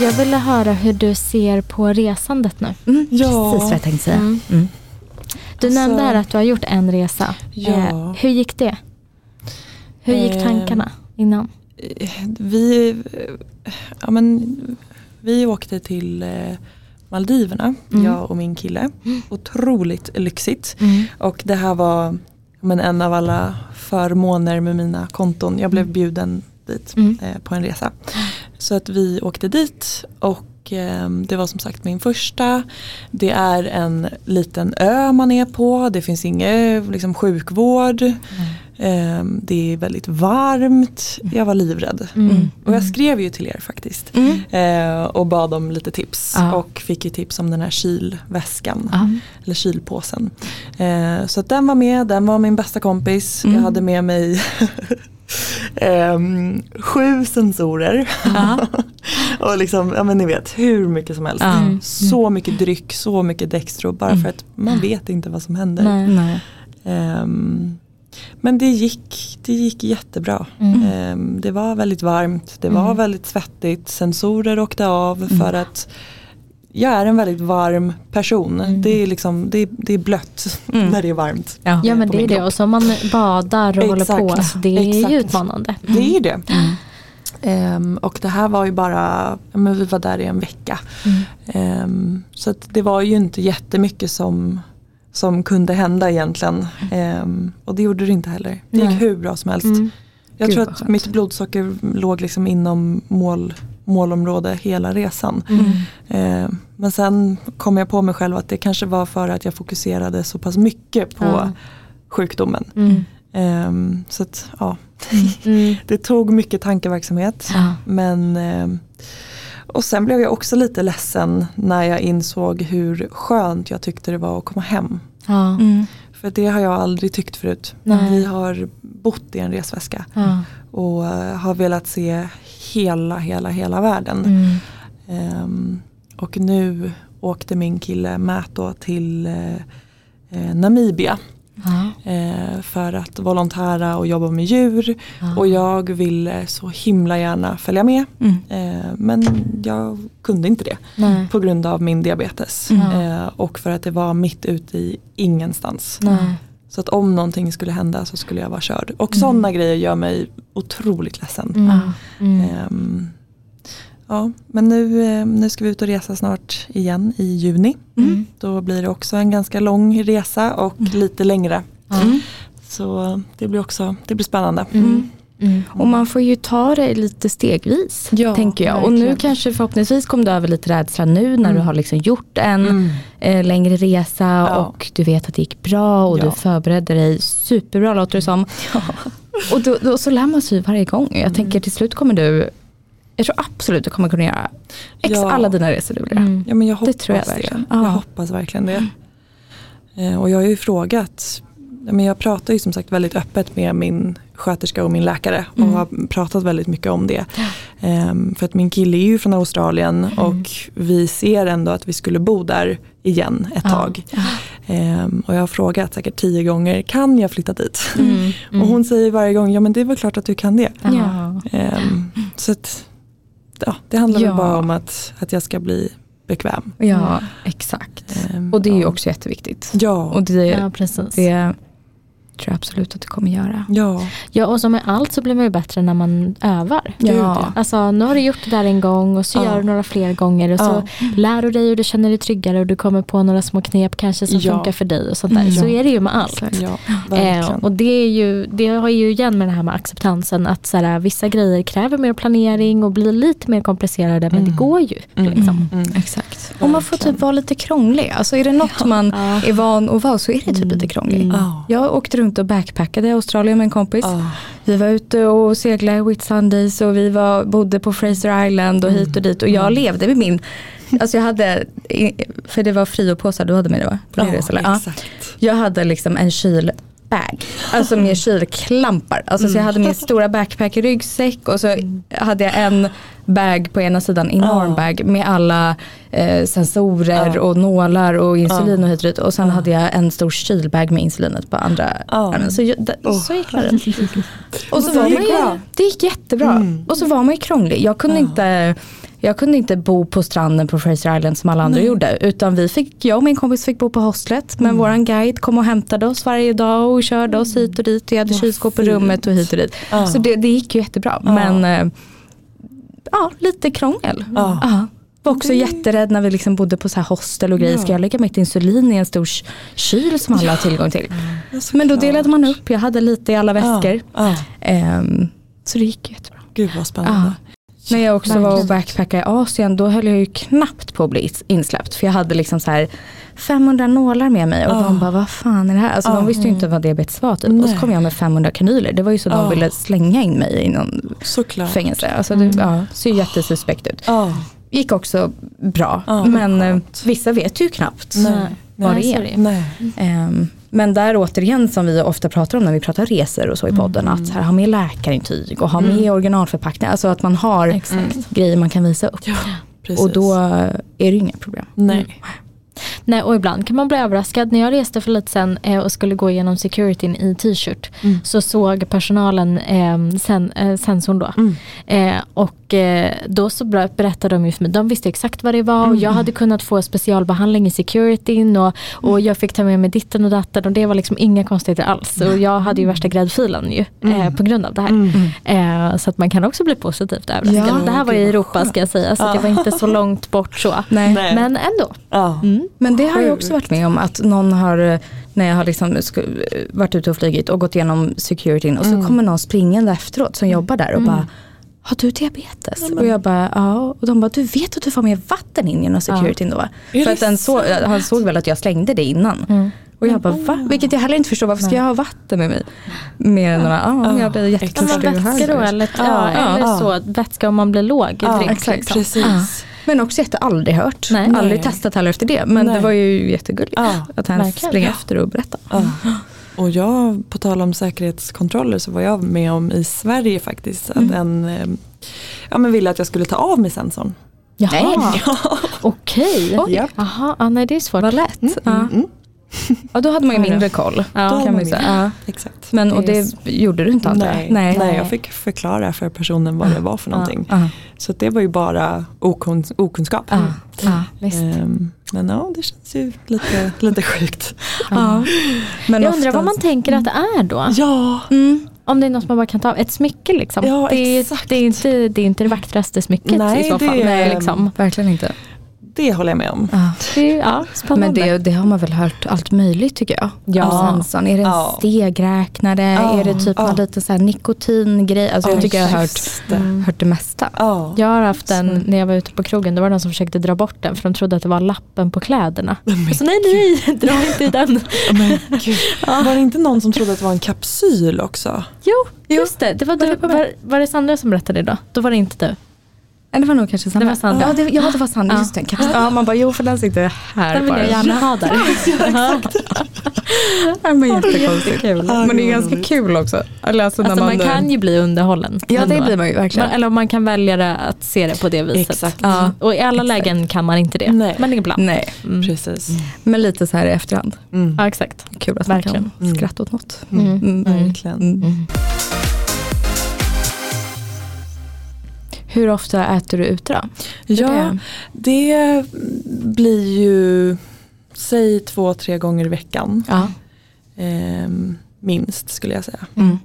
Speaker 2: Jag ville höra hur du ser på resandet nu.
Speaker 1: Mm,
Speaker 3: Ja.
Speaker 1: Precis vad jag tänkte säga.
Speaker 2: Mm.
Speaker 1: Mm.
Speaker 2: Du
Speaker 3: Alltså-
Speaker 2: nämnde här att du har gjort en resa.
Speaker 3: Ja.
Speaker 2: Eh, hur gick det? Hur gick
Speaker 3: Eh,
Speaker 2: tankarna innan?
Speaker 3: Eh, Vi, eh, ja, men, vi åkte till eh, Maldiverna,
Speaker 2: Mm.
Speaker 3: jag och min kille. Otroligt lyxigt.
Speaker 2: Mm.
Speaker 3: Och det här var ja, men, en av alla förmåner med mina konton. Jag blev bjuden dit
Speaker 2: Mm.
Speaker 3: eh, på en resa. Så att vi åkte dit och eh, det var som sagt min första. Det är en liten ö man är på. Det finns ingen liksom, sjukvård.
Speaker 2: Mm.
Speaker 3: Eh, det är väldigt varmt. Jag var livrädd.
Speaker 2: Mm.
Speaker 3: Och jag skrev ju till er faktiskt.
Speaker 1: Mm.
Speaker 3: Eh, och bad om lite tips.
Speaker 2: Ja.
Speaker 3: Och fick ju tips om den här kylväskan.
Speaker 2: Ja.
Speaker 3: Eller kylpåsen. Eh, så att den var med, den var min bästa kompis.
Speaker 2: Mm.
Speaker 3: Jag hade med mig ehm, sju sensorer. och liksom, ja men ni vet, hur mycket som helst.
Speaker 1: Ja.
Speaker 2: Mm.
Speaker 3: Så mycket dryck, så mycket Dextro. Bara för att man vet inte vad som händer.
Speaker 2: Nej. Mm.
Speaker 1: Nej.
Speaker 3: Ehm, men det gick, det gick jättebra.
Speaker 2: Mm. Eh,
Speaker 3: Ehm, det var väldigt varmt, det var väldigt svettigt, sensorer åkte av för att jag är en väldigt varm person. Det, är liksom, det, är- det är blött när det är varmt.
Speaker 1: Ja.
Speaker 2: Ja men
Speaker 3: på
Speaker 2: det är
Speaker 3: min
Speaker 2: det
Speaker 3: kropp.
Speaker 2: och så om man badar och
Speaker 3: Exakt.
Speaker 2: håller på så det är ju
Speaker 3: Exakt.
Speaker 2: utmanande.
Speaker 3: Det är ju det. Ehm, och det här var ju bara, ja, men vi var där i en vecka. Ehm, så att det var ju inte jättemycket som, som kunde hända egentligen. Ehm, och det gjorde det inte heller. Det gick
Speaker 2: Nej. Mm.
Speaker 3: hur bra som helst. Jag
Speaker 1: Gud,
Speaker 3: tror
Speaker 1: vad
Speaker 3: att
Speaker 1: skönt.
Speaker 3: mitt blodsocker låg liksom inom mål, målområde hela resan.
Speaker 2: Mm.
Speaker 3: Ehm, men sen kom jag på mig själv att det kanske var för att jag fokuserade så pass mycket på
Speaker 2: Ja.
Speaker 3: sjukdomen.
Speaker 2: Mm.
Speaker 3: Ehm, så att, ja.
Speaker 2: Mm.
Speaker 3: Det tog mycket tankeverksamhet.
Speaker 2: Ja.
Speaker 3: Men, eh, och sen blev jag också lite ledsen när jag insåg hur skönt jag tyckte det var att komma hem.
Speaker 2: Ja.
Speaker 1: Mm.
Speaker 3: För det har jag aldrig tyckt förut.
Speaker 2: Nej.
Speaker 3: Vi har bott i en resväska
Speaker 2: Ja.
Speaker 3: och eh, har velat se hela, hela, hela världen.
Speaker 2: Mm.
Speaker 3: Ehm, och nu åkte min kille Matt då till eh, eh, Namibia
Speaker 2: Ja.
Speaker 3: eh, för att volontära och jobba med djur.
Speaker 2: Ja.
Speaker 3: Och jag ville så himla gärna följa med.
Speaker 1: Mm.
Speaker 3: Eh, men jag kunde inte det
Speaker 2: Nej.
Speaker 3: på grund av min diabetes.
Speaker 2: Mm.
Speaker 3: Eh, och för att det var mitt ute i ingenstans.
Speaker 2: Nej.
Speaker 3: Så att om någonting skulle hända så skulle jag vara körd. Och sådana grejer gör mig otroligt ledsen.
Speaker 2: Mm. Mm.
Speaker 3: Ehm, ja, men nu, eh, nu ska vi ut och resa snart igen i juni.
Speaker 2: Mm.
Speaker 3: Då blir det också en ganska lång resa och lite längre.
Speaker 1: Mm.
Speaker 2: Ja.
Speaker 3: Så det blir också det blir spännande.
Speaker 2: Mm. Mm.
Speaker 1: Och man får ju ta det lite stegvis,
Speaker 3: Ja,
Speaker 1: tänker jag. Och nu
Speaker 2: verkligen.
Speaker 1: kanske förhoppningsvis kom du över lite rädsla nu när du
Speaker 3: Mm.
Speaker 1: har liksom gjort en eh, längre resa
Speaker 3: Ja.
Speaker 1: och du vet att det gick bra och
Speaker 3: Ja.
Speaker 1: du förberedde dig superbra låter det som. Och då, då, så lär man sig varje gång. Jag tänker till slut kommer du, jag tror absolut du kommer kunna göra ex
Speaker 3: Ja.
Speaker 1: alla dina resor
Speaker 2: Mm.
Speaker 1: du vill göra.
Speaker 3: Ja men jag hoppas
Speaker 1: Det
Speaker 3: det.
Speaker 1: tror jag verkligen.
Speaker 3: Jag
Speaker 1: Ja. Mm.
Speaker 3: hoppas verkligen det. Eh, Och jag har ju frågat, ja, men jag pratar ju som sagt väldigt öppet med min sköterska och min läkare och
Speaker 1: Mm.
Speaker 3: har pratat väldigt mycket om det. Ehm, För att min kille är ju från Australien
Speaker 1: Mm.
Speaker 3: och vi ser ändå att vi skulle bo där igen ett tag. Ehm, Och jag har frågat säkert tio gånger, kan jag flytta dit?
Speaker 2: Mm.
Speaker 3: Och hon säger varje gång, ja men det är väl klart att du kan det.
Speaker 1: Mm. Ja.
Speaker 3: Ehm, Så att, ja, det handlar
Speaker 1: Ja.
Speaker 3: väl bara om att, att jag ska bli bekväm.
Speaker 1: ja, exakt.
Speaker 3: Ehm,
Speaker 1: Och det är ju
Speaker 3: ja.
Speaker 1: också jätteviktigt.
Speaker 3: Ja.
Speaker 1: Och det,
Speaker 2: Ja, precis.
Speaker 1: det tror jag absolut att du kommer göra.
Speaker 3: ja.
Speaker 2: Ja, och som med allt så blir man ju bättre när man övar.
Speaker 1: Ja.
Speaker 2: Alltså, nu har du gjort det där en gång och så
Speaker 3: Ja.
Speaker 2: gör du några fler gånger och så lär du dig och du känner dig tryggare och du kommer på några små knep kanske som
Speaker 3: Ja.
Speaker 2: funkar för dig och sånt där.
Speaker 1: Mm.
Speaker 2: Så
Speaker 1: Ja.
Speaker 2: är det ju med allt.
Speaker 3: ja,
Speaker 2: Eh,
Speaker 3: verkligen.
Speaker 2: och det, är ju, det har ju igen med det här med acceptansen att så här, vissa grejer kräver mer planering och blir lite mer komplicerade men det går ju.
Speaker 1: Mm.
Speaker 2: Liksom.
Speaker 1: Exakt. Och man får typ vara lite krånglig. Alltså är det något man
Speaker 3: Ah.
Speaker 2: Ja.
Speaker 1: är van att vara så är det typ
Speaker 3: Mm.
Speaker 1: lite krånglig.
Speaker 3: Ja.
Speaker 1: Jag åkte runt och backpackade i Australien med en kompis.
Speaker 3: Ja.
Speaker 1: Vi var ute och seglade i Whitsundays och vi var, bodde på Fraser Island och hit
Speaker 3: Mm.
Speaker 1: och dit. Och jag levde med min, alltså jag hade, för det var friopåsar du hade med dig va? På din
Speaker 3: Ja,
Speaker 1: resa, eller? Ja.
Speaker 3: exakt.
Speaker 1: Jag hade liksom en kylbag, alltså med kylklampar. Alltså så jag hade
Speaker 3: Mm.
Speaker 1: min stora backpack-ryggsäck och så hade jag en bag på ena sidan, enorm
Speaker 3: Ja.
Speaker 1: bag med alla eh, sensorer och nålar och insulin och hit och dit. Och sen hade jag en stor kylbag med insulinet på andra
Speaker 3: Ja.
Speaker 1: armen. Så, jag, d- så gick man runt. Och så
Speaker 3: det
Speaker 1: var man
Speaker 3: gick
Speaker 1: ju,
Speaker 3: bra. Mm.
Speaker 1: det gick jättebra. Och så var man ju krånglig. Jag kunde inte Jag kunde inte bo på stranden på Fraser Island som alla andra gjorde. Utan vi fick, jag och min kompis fick bo på hostlet.
Speaker 3: Mm.
Speaker 1: Men våran guide kom och hämtade oss varje dag och körde oss hit och dit. Vi hade
Speaker 3: Vad
Speaker 1: kylskåp i
Speaker 3: fint.
Speaker 1: rummet och hit och dit.
Speaker 3: Ja.
Speaker 1: Så det, det gick ju jättebra.
Speaker 3: Ja.
Speaker 1: Men eh, ja, lite krångel.
Speaker 3: Ja.
Speaker 1: Ja. Var också
Speaker 3: Det-
Speaker 1: jätterädd när vi liksom bodde på så här hostel och grejer.
Speaker 3: Ja.
Speaker 1: Ska jag lägga mitt insulin i en stor k- kyl som alla har tillgång till? Men då delade man upp. Jag hade lite i alla väskor.
Speaker 3: Ja.
Speaker 1: Ehm, så det gick ju jättebra.
Speaker 3: Gud vad spännande.
Speaker 1: När jag också
Speaker 2: Verkligen.
Speaker 1: var och backpackade i Asien då höll jag ju knappt på att bli is- insläppt. För jag hade liksom så här 500 nålar med mig och
Speaker 3: Ah.
Speaker 1: de bara vad fan är det här? Alltså
Speaker 3: Ah.
Speaker 1: de visste ju inte vad diabetes var typ. Och så
Speaker 3: Nej.
Speaker 1: kom jag med 500 kanyler. Det var ju så de
Speaker 3: Ah.
Speaker 1: ville slänga in mig i någon
Speaker 3: Såklart.
Speaker 1: fängelse. Alltså
Speaker 3: Mm.
Speaker 1: det ja, ser ju jättesuspekt ut.
Speaker 3: Ja.
Speaker 1: Gick också bra.
Speaker 3: Ah,
Speaker 1: men eh,
Speaker 3: skönt.
Speaker 1: vissa vet ju knappt.
Speaker 3: Nej.
Speaker 1: Vad
Speaker 2: Nej,
Speaker 1: det är.
Speaker 2: så
Speaker 3: Nej.
Speaker 1: Ehm, men där återigen som vi ofta pratar om när vi pratar resor och så
Speaker 3: Mm.
Speaker 1: i podden. Att så här, ha med läkarintyg och ha med originalförpackningar. Alltså att man har
Speaker 2: Exakt.
Speaker 1: grejer man kan visa upp.
Speaker 3: Ja, precis.
Speaker 1: Och då är det ju inga problem.
Speaker 3: Nej.
Speaker 2: Nej, och ibland kan man bli överraskad. När jag reste för lite sen eh, och skulle gå igenom securityn i t-shirt
Speaker 1: Mm.
Speaker 3: Mm.
Speaker 2: så såg personalen eh, sen, eh, sensorn då.
Speaker 3: Mm.
Speaker 2: Eh, och eh, då så bra- berättade de ju för mig, de visste exakt vad det var och jag
Speaker 3: Mm.
Speaker 2: hade kunnat få specialbehandling i securityn och, och
Speaker 3: Mm.
Speaker 2: jag fick ta med mig ditten och datten och det var liksom inga konstigheter alls. Och jag hade ju
Speaker 3: Mm.
Speaker 2: värsta gräddfilen ju eh, på grund av det
Speaker 1: Mm.
Speaker 2: här. Eh, så att man kan också bli positivt överraskad.
Speaker 1: Ja,
Speaker 2: det här var i
Speaker 3: gud, vad
Speaker 2: Europa ska jag säga så att det var inte så långt bort så.
Speaker 1: Nej. Mm.
Speaker 3: Nej.
Speaker 2: Men ändå.
Speaker 3: Ja.
Speaker 1: Men det har jag också varit med om att någon har, eh, när jag har liksom sku- eh, varit ute och flugit och gått igenom securityn och så
Speaker 3: Mm.
Speaker 1: kommer någon springande efteråt som jobbar där och bara har du diabetes? Och jag bara ja. Och de bara du vet att du får med vatten in genom securityn då va?
Speaker 3: Är
Speaker 1: För
Speaker 3: det
Speaker 1: att den så, han såg väl att jag slängde det innan.
Speaker 3: Mm.
Speaker 1: Och jag bara va? Vilket jag heller inte förstår. Varför ska jag ha vatten med mig? Mer än att ah, men jag blir
Speaker 2: Ja, men
Speaker 1: jättetörstig och
Speaker 2: vätska då
Speaker 1: hög.
Speaker 2: eller, ja,
Speaker 3: Ja,
Speaker 2: eller
Speaker 3: ja.
Speaker 2: så, vätska om man blir låg.
Speaker 3: Ja,
Speaker 2: drink,
Speaker 1: exakt.
Speaker 2: liksom.
Speaker 3: Precis.
Speaker 1: Men också jätte, aldrig hört.
Speaker 2: Nej.
Speaker 1: Aldrig
Speaker 3: Nej.
Speaker 1: testat heller efter det. Men
Speaker 3: Nej.
Speaker 1: det var ju jättegulligt.
Speaker 3: Ja.
Speaker 1: Att han
Speaker 2: Verkligen.
Speaker 1: springer
Speaker 2: Ja.
Speaker 1: efter och berättar.
Speaker 3: Ja. Och jag, på tal om säkerhetskontroller så var jag med om i Sverige faktiskt att
Speaker 1: Mm.
Speaker 3: en eh, ja, men ville att jag skulle ta av mig sensorn.
Speaker 2: Jaha,
Speaker 1: Nej.
Speaker 2: okej.
Speaker 1: Oj.
Speaker 3: Ja.
Speaker 2: Jaha, ja, nej det är svårt.
Speaker 1: Vad lätt. Ja.
Speaker 3: Mm.
Speaker 1: ja, då hade man ju
Speaker 3: Ja, då.
Speaker 1: mindre koll.
Speaker 3: Då
Speaker 2: Ja.
Speaker 1: Kan
Speaker 3: var
Speaker 1: man ju
Speaker 3: min-
Speaker 1: säga. Ja.
Speaker 3: Exakt.
Speaker 1: Men och
Speaker 2: Det är
Speaker 1: det gjorde du inte antar jag?
Speaker 3: Nej. Nej. jag fick förklara för personen vad det
Speaker 1: Ah,
Speaker 3: var för
Speaker 2: Ja.
Speaker 3: någonting.
Speaker 1: Ja.
Speaker 3: Så att det var ju bara okun, okunskap.
Speaker 1: Ja. Ja.
Speaker 2: Visst.
Speaker 3: Ehm, men ja, det känns ju lite, lite sjukt.
Speaker 1: Ja. Men
Speaker 2: Jag undrar vad man
Speaker 1: oftast-
Speaker 2: tänker att det är
Speaker 1: Ah.
Speaker 2: då?
Speaker 3: Ja,
Speaker 1: Mm.
Speaker 2: Om det är något man bara kan ta av, ett smycke liksom.
Speaker 3: Ja,
Speaker 2: det, är,
Speaker 3: exakt.
Speaker 2: det, är inte, det är inte det vackraste smycket
Speaker 3: Nej,
Speaker 2: i så
Speaker 3: det
Speaker 2: fall.
Speaker 3: är-
Speaker 2: Nej, liksom.
Speaker 1: Verkligen inte.
Speaker 3: det håller jag med om.
Speaker 1: Ja.
Speaker 2: det är, ja, spännande.
Speaker 1: Men det, det har man väl hört allt möjligt tycker jag.
Speaker 2: Ja.
Speaker 1: Av sensorn. Är det en
Speaker 3: Ja.
Speaker 1: stegräknare?
Speaker 3: Ja.
Speaker 1: Är det typ
Speaker 3: Ja.
Speaker 1: någon liten så här nikotingrej? Alltså, jag
Speaker 3: Ja,
Speaker 1: tycker jag har hört,
Speaker 3: just det.
Speaker 1: hört det mesta.
Speaker 3: Ja.
Speaker 2: Mm. Jag har haft en, när jag var ute på krogen, då var det någon som försökte dra bort den för de trodde att det var lappen på kläderna. Och så nej, nej, dra inte i den.
Speaker 3: Men gud. Var det inte någon som trodde att det var en kapsyl också?
Speaker 2: Jo, just det. Det var, du, var, var det Sandra som berättade då? Då var det inte du.
Speaker 1: Nej, Det var nog kanske Sandra.
Speaker 2: Det var Sandra.
Speaker 1: Ja, det, ja, det var Sandra.
Speaker 2: Ja.
Speaker 1: Just det, en kapsyl. Ja, man bara, jo för den sitter här
Speaker 2: Den vill
Speaker 1: bara.
Speaker 2: jag gärna ha där.
Speaker 1: Ja, men jättekonstigt.
Speaker 2: Jättekul.
Speaker 3: Ja,
Speaker 1: Men det
Speaker 3: gud,
Speaker 1: är
Speaker 3: vad
Speaker 1: ganska
Speaker 3: roligt.
Speaker 1: kul också. Eller alltså, när
Speaker 2: Alltså man
Speaker 1: man
Speaker 2: kan ju bli underhållen.
Speaker 1: Ja, det
Speaker 2: ändå.
Speaker 1: blir man ju verkligen.
Speaker 2: Man- Eller om man kan välja det, att se det på det viset.
Speaker 3: Exakt.
Speaker 2: Ja. Och i alla
Speaker 1: Exakt.
Speaker 2: lägen kan man inte det.
Speaker 3: Nej.
Speaker 2: Men ibland.
Speaker 1: Nej,
Speaker 2: Mm.
Speaker 3: Precis.
Speaker 1: men lite så här i efterhand.
Speaker 3: Mm.
Speaker 2: Ja, exakt.
Speaker 1: Kul att
Speaker 2: Verkligen.
Speaker 1: man kan skratta åt något.
Speaker 2: Mm. Mm.
Speaker 3: Verkligen.
Speaker 1: Mm. Hur ofta äter du ute då?
Speaker 3: Ja,
Speaker 1: det?
Speaker 3: det blir ju säg två, tre gånger i veckan.
Speaker 1: Ja.
Speaker 3: Ehm, minst skulle jag säga.
Speaker 1: Mm.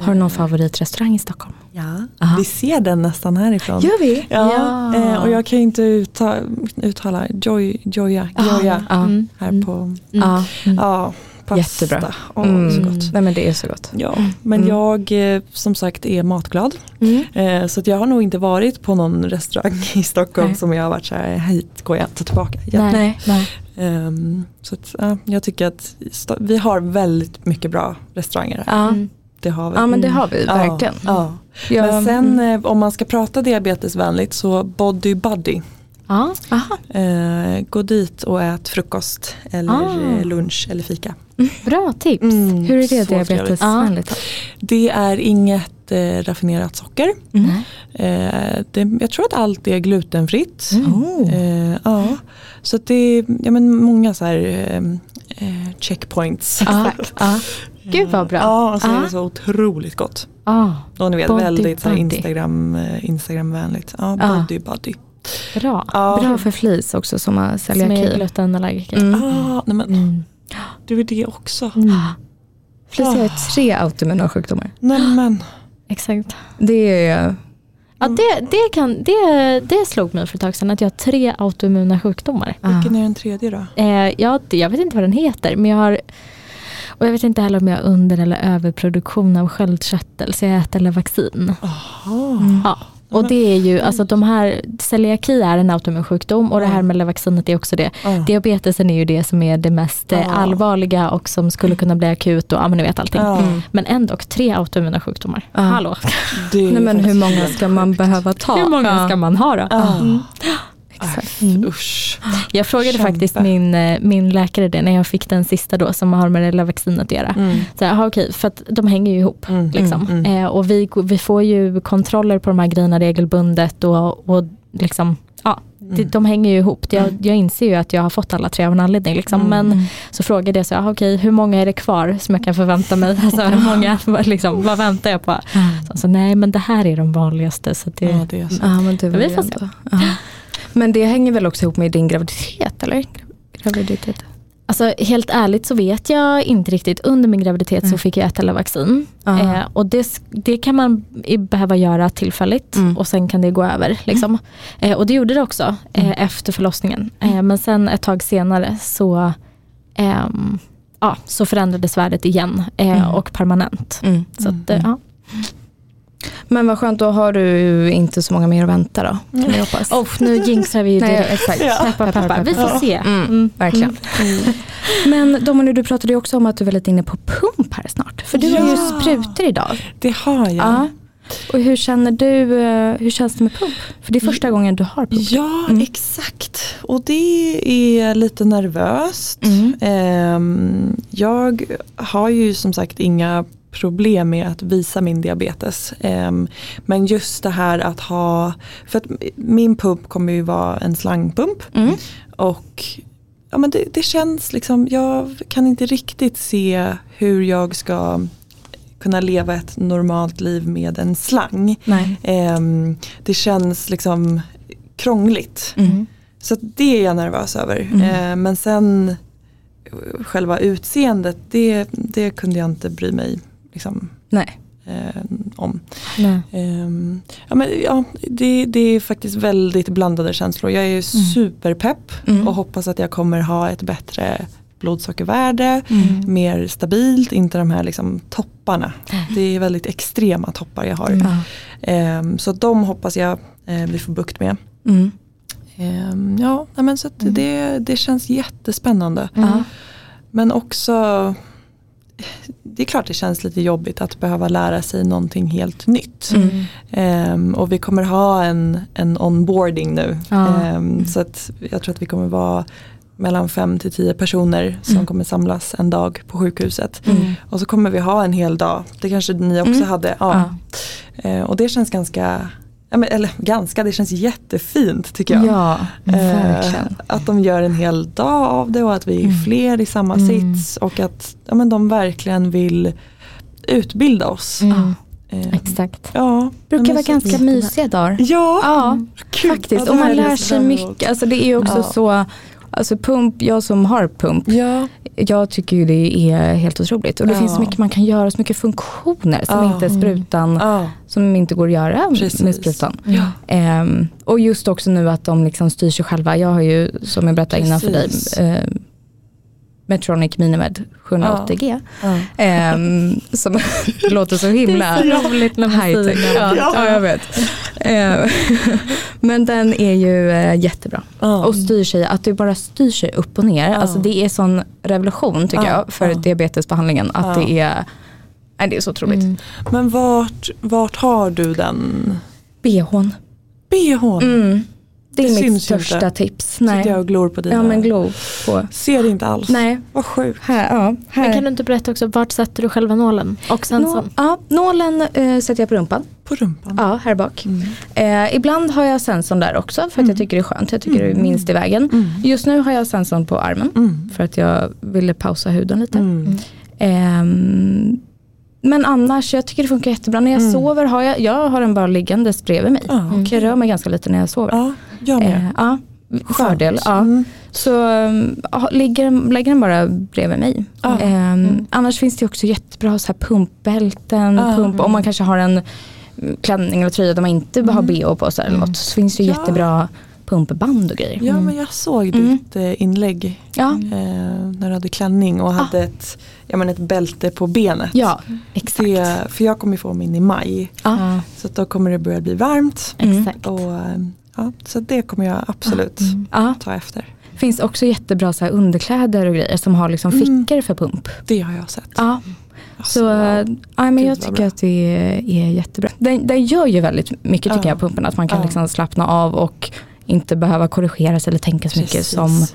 Speaker 1: Har du någon favoritrestaurang i Stockholm?
Speaker 3: Ja.
Speaker 1: Aha.
Speaker 3: Vi ser den nästan härifrån.
Speaker 1: Gör vi?
Speaker 3: Ja,
Speaker 2: Ja.
Speaker 3: eh, och jag kan ju inte uttala, uttala Joy, Joya, Joya
Speaker 1: Ah, Ja.
Speaker 2: Mm.
Speaker 3: här på,
Speaker 1: Ja.
Speaker 3: ja, pasta.
Speaker 1: Jättebra.
Speaker 3: Åh, så
Speaker 1: Mm.
Speaker 3: gott.
Speaker 1: Nej men det är så gott.
Speaker 3: Ja, men
Speaker 1: Mm.
Speaker 3: jag eh, som sagt är matglad.
Speaker 2: Mm.
Speaker 3: Eh, Så att jag har nog inte varit på någon restaurang i Stockholm
Speaker 1: Nej.
Speaker 3: som jag har varit så här, hit går jag inte tillbaka. igen."
Speaker 2: Nej.
Speaker 1: Nej. Nej.
Speaker 3: Ehm, så att, ja, jag tycker att sta- vi har väldigt mycket bra restauranger. här.
Speaker 1: Ja.
Speaker 2: Mm.
Speaker 3: Det har vi. Mm.
Speaker 1: ja men det har vi
Speaker 3: Ja,
Speaker 1: verkligen.
Speaker 3: Ja.
Speaker 1: Jag-
Speaker 3: Men sen eh, om man ska prata diabetesvänligt så Body Buddy.
Speaker 2: Ja.
Speaker 1: Aha.
Speaker 3: Eh, gå dit och ät frukost eller
Speaker 2: Ah.
Speaker 3: eh, lunch eller fika.
Speaker 2: Bra tips.
Speaker 1: Mm. Hur är det
Speaker 3: så trevligt.
Speaker 1: diabetesvänligt? då?
Speaker 3: Det är inget eh, raffinerat socker.
Speaker 1: Mm.
Speaker 3: Eh, det, jag tror att allt är glutenfritt.
Speaker 1: Oh.
Speaker 2: Mm.
Speaker 3: Eh, ja. Så att det är ja, men många så här, eh, eh, checkpoints.
Speaker 1: Exakt. Ja.
Speaker 2: Gud vad bra.
Speaker 3: Ja, och så är
Speaker 1: Ja.
Speaker 3: det så otroligt gott.
Speaker 2: Ah,
Speaker 3: Och ni vet
Speaker 2: Body,
Speaker 3: väldigt så här
Speaker 2: body.
Speaker 3: Instagram, eh, Instagramvänligt. Ja,
Speaker 2: Ja.
Speaker 3: body body.
Speaker 2: bra.
Speaker 3: Ja.
Speaker 1: Ah. Bra för flis också som har
Speaker 2: Som är
Speaker 1: celiaki.
Speaker 2: glutenallergiker.
Speaker 1: Mm.
Speaker 3: Ah, nej men
Speaker 2: Mm.
Speaker 3: du är det också.
Speaker 2: Mm.
Speaker 1: Flis har tre autoimmuna sjukdomar.
Speaker 3: Nej men.
Speaker 2: Exakt.
Speaker 1: Det är
Speaker 2: Ja, det, det, kan, det, det slog mig för ett tag sedan att jag har tre autoimmuna sjukdomar.
Speaker 3: Vilken
Speaker 1: Ah.
Speaker 3: är den tredje då?
Speaker 2: Eh, ja, det- jag vet inte vad den heter, men jag har och jag vet inte heller om jag har under eller överproduktion av sköldkörtel, så jag äter eller vaccin.
Speaker 3: Jaha.
Speaker 1: Mm.
Speaker 2: Ja. Och det är ju, alltså de här, celiaki är en autoimmun sjukdom och det här
Speaker 1: Mm.
Speaker 2: med vaccinet är också det.
Speaker 3: Ja.
Speaker 2: Diabetesen är ju det som är det mest eh,
Speaker 3: Ja.
Speaker 2: allvarliga och som skulle kunna bli akut och ja men ni vet allting.
Speaker 3: Ja,
Speaker 1: Mm.
Speaker 2: Men ändå tre autoimmuna sjukdomar.
Speaker 1: Ja.
Speaker 2: Hallå,
Speaker 3: det är
Speaker 1: Nej men hur
Speaker 3: faktiskt
Speaker 1: många
Speaker 3: helt
Speaker 1: ska man
Speaker 3: sjukt.
Speaker 1: behöva ta?
Speaker 2: hur många
Speaker 1: Ja.
Speaker 2: ska man ha då?
Speaker 3: Ah. Äh,
Speaker 1: Exakt.
Speaker 2: Mm.
Speaker 3: Usch.
Speaker 2: Jag frågade
Speaker 3: Kämpa.
Speaker 2: faktiskt min, eh, min läkare det när jag fick den sista då som har med det lilla vaccinet att göra.
Speaker 3: Mm.
Speaker 2: Så, jag, aha, okej, för att de hänger ju ihop.
Speaker 3: Mm.
Speaker 2: Liksom.
Speaker 3: Mm. Mm.
Speaker 2: Eh, och vi, vi får ju kontroller på de här grejerna regelbundet och, och liksom, ja, det,
Speaker 3: Mm.
Speaker 2: de hänger ju ihop. Jag, jag inser ju att jag har fått alla tre av en anledning. Liksom.
Speaker 3: Mm.
Speaker 2: Men så frågade jag, så, aha, okej, hur många är det kvar som jag kan förvänta mig? Alltså, hur många, vad liksom, vad väntar jag på? Så, så, nej men det här är de vanligaste. Så det,
Speaker 3: Ja, det är så.
Speaker 1: Ja, men, det var
Speaker 2: Vi
Speaker 1: ju
Speaker 2: får se.
Speaker 1: ändå- ja. men det hänger väl också ihop med din graviditet eller? Graviditet.
Speaker 2: Alltså helt ärligt så vet jag inte riktigt. Under min graviditet
Speaker 1: Mm.
Speaker 2: så fick jag äta alla vaccin.
Speaker 1: Ja.
Speaker 2: Eh, och det, sk- det kan man i- behöva göra tillfälligt
Speaker 1: Mm. Mm.
Speaker 2: och sen kan det gå över. Liksom. Eh, och det gjorde det också eh, efter förlossningen. Eh, men sen ett tag senare så, ehm, ja, så förändrades värdet igen eh,
Speaker 1: Mm.
Speaker 2: och permanent.
Speaker 1: Mm.
Speaker 2: Så att, eh, ja.
Speaker 1: Men vad skönt, då har du inte så många mer att vänta då. Kan vi hoppas.
Speaker 2: oh, nu jinxar vi ju
Speaker 1: Mm. Nej,
Speaker 2: direkt.
Speaker 1: exakt.
Speaker 2: Peppa, peppa. Vi får se.
Speaker 1: Mm,
Speaker 2: Mm.
Speaker 1: Verkligen. Men Dominic, du pratade ju också om att du var lite inne på pump här snart. För du har ju
Speaker 3: Ja.
Speaker 1: sprutor idag.
Speaker 3: Det har jag.
Speaker 1: Ja. Och hur känner du, eh, hur känns det med pump? För det är första gången du har pump.
Speaker 3: Ja, exakt. Och det är lite nervöst.
Speaker 1: Mm.
Speaker 3: Ehm, jag har ju som sagt inga problem med att visa min diabetes. Ehm, men just det här att ha, för att min pump kommer ju vara en slangpump.
Speaker 1: Mm.
Speaker 3: Och ja, men det, det känns liksom, jag kan inte riktigt se hur jag ska kunna leva ett normalt liv med en slang.
Speaker 1: Nej.
Speaker 3: Ehm, det känns liksom krångligt.
Speaker 1: Mm.
Speaker 3: Så att det är jag nervös över. Ehm, men sen eh, själva utseendet, det, det kunde jag inte bry mig liksom,
Speaker 1: Nej.
Speaker 3: eh, om.
Speaker 2: Nej.
Speaker 3: Ehm, ja, men, ja, det, det är faktiskt väldigt blandade känslor. Jag är superpepp
Speaker 1: Mm.
Speaker 3: och hoppas att jag kommer ha ett bättre blodsockervärde,
Speaker 1: Mm.
Speaker 3: mer stabilt, inte de här liksom, topparna. Det är väldigt extrema toppar jag har.
Speaker 1: Ja.
Speaker 3: Ehm, så de hoppas jag eh, vi får bukt med.
Speaker 1: Mm.
Speaker 3: Ehm, ja, nej men så att det, det känns jättespännande.
Speaker 1: Ja.
Speaker 3: Men också, det är klart det känns lite jobbigt att behöva lära sig någonting helt nytt.
Speaker 1: Mm.
Speaker 3: Ehm, och vi kommer ha en, en onboarding nu.
Speaker 2: Ja.
Speaker 3: Ehm, så att jag tror att vi kommer vara mellan fem till tio personer som kommer samlas en dag på sjukhuset.
Speaker 2: Mm.
Speaker 1: Mm.
Speaker 3: Och så kommer vi ha en hel dag, det kanske ni också hade. Ja. Eh, och det känns ganska, ja, men, eller ganska, det känns jättefint tycker jag.
Speaker 1: Ja,
Speaker 3: Eh,
Speaker 1: verkligen. Mm.
Speaker 3: att de gör en hel dag av det och att vi är fler i samma sits och att ja, men de verkligen vill utbilda oss.
Speaker 2: Mm.
Speaker 3: Eh,
Speaker 2: Exakt. Mm.
Speaker 3: ja,
Speaker 1: brukar
Speaker 3: men
Speaker 1: vara
Speaker 3: så-
Speaker 1: ganska mysiga dagar.
Speaker 3: Ja,
Speaker 1: Ja,
Speaker 3: kul. Ja,
Speaker 1: faktiskt.
Speaker 3: det
Speaker 1: Och
Speaker 3: här
Speaker 1: man
Speaker 3: är
Speaker 1: lär
Speaker 3: det
Speaker 1: sig
Speaker 3: fram emot.
Speaker 1: mycket. Alltså det är ju också
Speaker 3: Ja.
Speaker 1: så, alltså pump, jag som har pump,
Speaker 3: Ja,
Speaker 1: jag tycker ju det är helt otroligt. Och det
Speaker 3: Ja.
Speaker 1: finns så mycket man kan göra, så mycket funktioner som
Speaker 3: Ja.
Speaker 1: inte sprutan,
Speaker 3: ja,
Speaker 1: som inte går att göra
Speaker 3: Precis.
Speaker 1: med sprutan.
Speaker 3: ja.
Speaker 1: Ehm, och just också nu att de liksom styr sig själva. Jag har ju, som jag berättade innan för dig,
Speaker 3: Precis.
Speaker 1: ehm, Metronic Minimed 780G.
Speaker 3: ja.
Speaker 1: Ehm, som det låter så himla
Speaker 2: roligt när
Speaker 1: high tech. Ja, ja, jag vet. Eh, Men den är ju eh, jättebra.
Speaker 3: ja.
Speaker 1: Och styr sig, att det bara styr sig upp och ner. Alltså det är sån revolution tycker
Speaker 3: Ja,
Speaker 1: jag för
Speaker 3: ja.
Speaker 1: diabetesbehandlingen. Att
Speaker 3: Ja.
Speaker 1: det är, nej, det är så otroligt.
Speaker 2: Mm.
Speaker 3: Men vart, vart har du den
Speaker 1: BHn.
Speaker 3: bhn?
Speaker 1: Mm. Det är
Speaker 3: Det
Speaker 1: mitt
Speaker 3: syns ju
Speaker 1: största
Speaker 3: inte.
Speaker 1: tips.
Speaker 3: Sitter jag
Speaker 1: Nej.
Speaker 3: och glor på dina?
Speaker 1: Ja men glow på.
Speaker 3: Ser det inte alls?
Speaker 1: Nej,
Speaker 3: Vad sjukt.
Speaker 1: här. Ja, här.
Speaker 2: Men kan du inte berätta också, vart sätter du själva nålen? Och sen så,
Speaker 1: Nå- ja, nålen eh, sätter jag på rumpan.
Speaker 3: På rumpan. Mm.
Speaker 1: Ja, här bak. Eh, ibland har jag sensorn där också för att jag tycker det är skönt. Jag tycker
Speaker 3: Mm.
Speaker 1: det är minst i vägen. Just nu har jag sensorn på Mm. armen för att jag ville pausa huden lite.
Speaker 3: Mm.
Speaker 1: Ehm, Men annars, jag tycker det funkar jättebra. När jag
Speaker 3: Mm.
Speaker 1: sover har jag, jag har den bara liggandes bredvid mig.
Speaker 3: Ja,
Speaker 1: Och jag rör mig ganska lite när jag sover.
Speaker 3: Mm. ja jag med.
Speaker 1: Eh, ja. Fördel,
Speaker 3: Skönt.
Speaker 1: ja.
Speaker 3: Mm.
Speaker 1: Så um, ha- ligger, den- lägger den bara bredvid mig.
Speaker 3: Ja.
Speaker 1: Ehm,
Speaker 3: Mm.
Speaker 1: Annars finns det ju också jättebra så här pumpbälten,
Speaker 3: Ja.
Speaker 1: pump, om man kanske har en mm, klänning eller tröja där man inte har bh på sig eller något så finns det ju
Speaker 3: Mm. Ja.
Speaker 1: jättebra pumpband och grejer.
Speaker 3: Ja men jag såg
Speaker 1: Mm.
Speaker 3: ditt eh, inlägg
Speaker 1: Ja,
Speaker 3: eh, när du hade klänning och hade ett, ja, men ett bälte på benet.
Speaker 1: ja exakt.
Speaker 3: Det, för jag kommer ju få min i maj
Speaker 1: Ja.
Speaker 2: Ja,
Speaker 3: så att då kommer det börja bli varmt.
Speaker 1: Mm.
Speaker 2: exakt. Mm.
Speaker 3: Och, eh, ja, så det kommer jag absolut
Speaker 1: Ja.
Speaker 3: ta efter.
Speaker 1: finns också jättebra så här underkläder och grejer som har liksom
Speaker 3: Mm.
Speaker 1: fickor för pump.
Speaker 3: Det har jag sett.
Speaker 1: Ja,
Speaker 3: Alltså,
Speaker 1: så eh, ja, men
Speaker 3: Gud,
Speaker 1: jag
Speaker 3: vad
Speaker 1: tycker
Speaker 3: bra.
Speaker 1: att det är jättebra. Den, den gör ju väldigt mycket tycker
Speaker 3: Ja.
Speaker 1: jag, pumpen, att man kan
Speaker 3: Ja.
Speaker 1: liksom slappna av och inte behöva korrigera sig eller tänka så mycket
Speaker 3: precis.
Speaker 1: som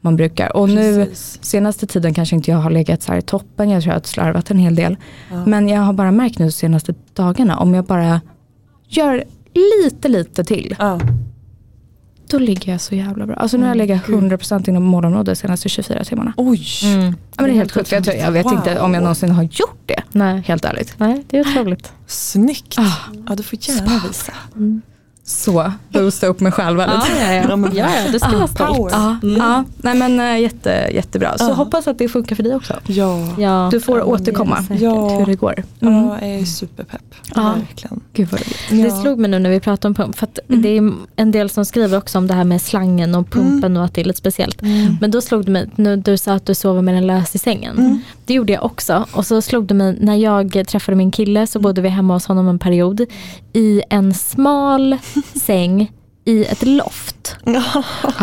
Speaker 1: man brukar. Och nu
Speaker 3: Precis.
Speaker 1: senaste tiden kanske inte jag har legat så här i toppen, jag tror jag har slarvat en hel del.
Speaker 3: Ja.
Speaker 1: Men jag har bara märkt nu senaste dagarna, om jag bara gör lite lite till,
Speaker 3: Ja.
Speaker 1: då ligger jag så jävla bra. Alltså nu har jag
Speaker 3: Mm,
Speaker 1: legat
Speaker 3: gud.
Speaker 1: 100% inom målområdet de senaste 24 timmarna.
Speaker 3: Oj,
Speaker 2: Mm.
Speaker 1: Ja, men det är helt sjukt, jag, tror- jag vet
Speaker 3: Wow.
Speaker 1: inte om jag någonsin har gjort det,
Speaker 2: Nej.
Speaker 1: helt ärligt.
Speaker 2: Nej, det är otroligt.
Speaker 3: snyggt.
Speaker 1: Ah.
Speaker 3: Ja, du får gärna visa.
Speaker 1: Så, boosta upp mig själv väldigt.
Speaker 2: ja, Ah, Mm.
Speaker 3: Ja, men-
Speaker 2: du ska vara stolt.
Speaker 3: Power.
Speaker 1: Ja, ja, nej men äh, jätte, jättebra. Så
Speaker 3: Ja.
Speaker 1: hoppas att det funkar för dig också.
Speaker 3: Ja,
Speaker 2: Ja.
Speaker 1: Du får
Speaker 2: Ja, men det är
Speaker 1: återkomma
Speaker 2: säkert.
Speaker 3: Ja.
Speaker 1: hur det går.
Speaker 3: Ja,
Speaker 1: Mm.
Speaker 3: jag är superpepp.
Speaker 1: Ja.
Speaker 3: Verkligen.
Speaker 1: Gud vad roligt.
Speaker 2: Det
Speaker 3: Ja.
Speaker 2: slog mig nu när vi pratade om pump, för att det är en del som skriver också om det här med slangen och pumpen och att det är lite speciellt.
Speaker 1: Mm.
Speaker 2: Men då slog det mig, nu, du sa att du sover med den lös i sängen.
Speaker 3: Mm.
Speaker 2: Det gjorde jag också. Och så slog det mig, när jag träffade min kille så bodde vi hemma hos honom en period i en smal säng i ett loft.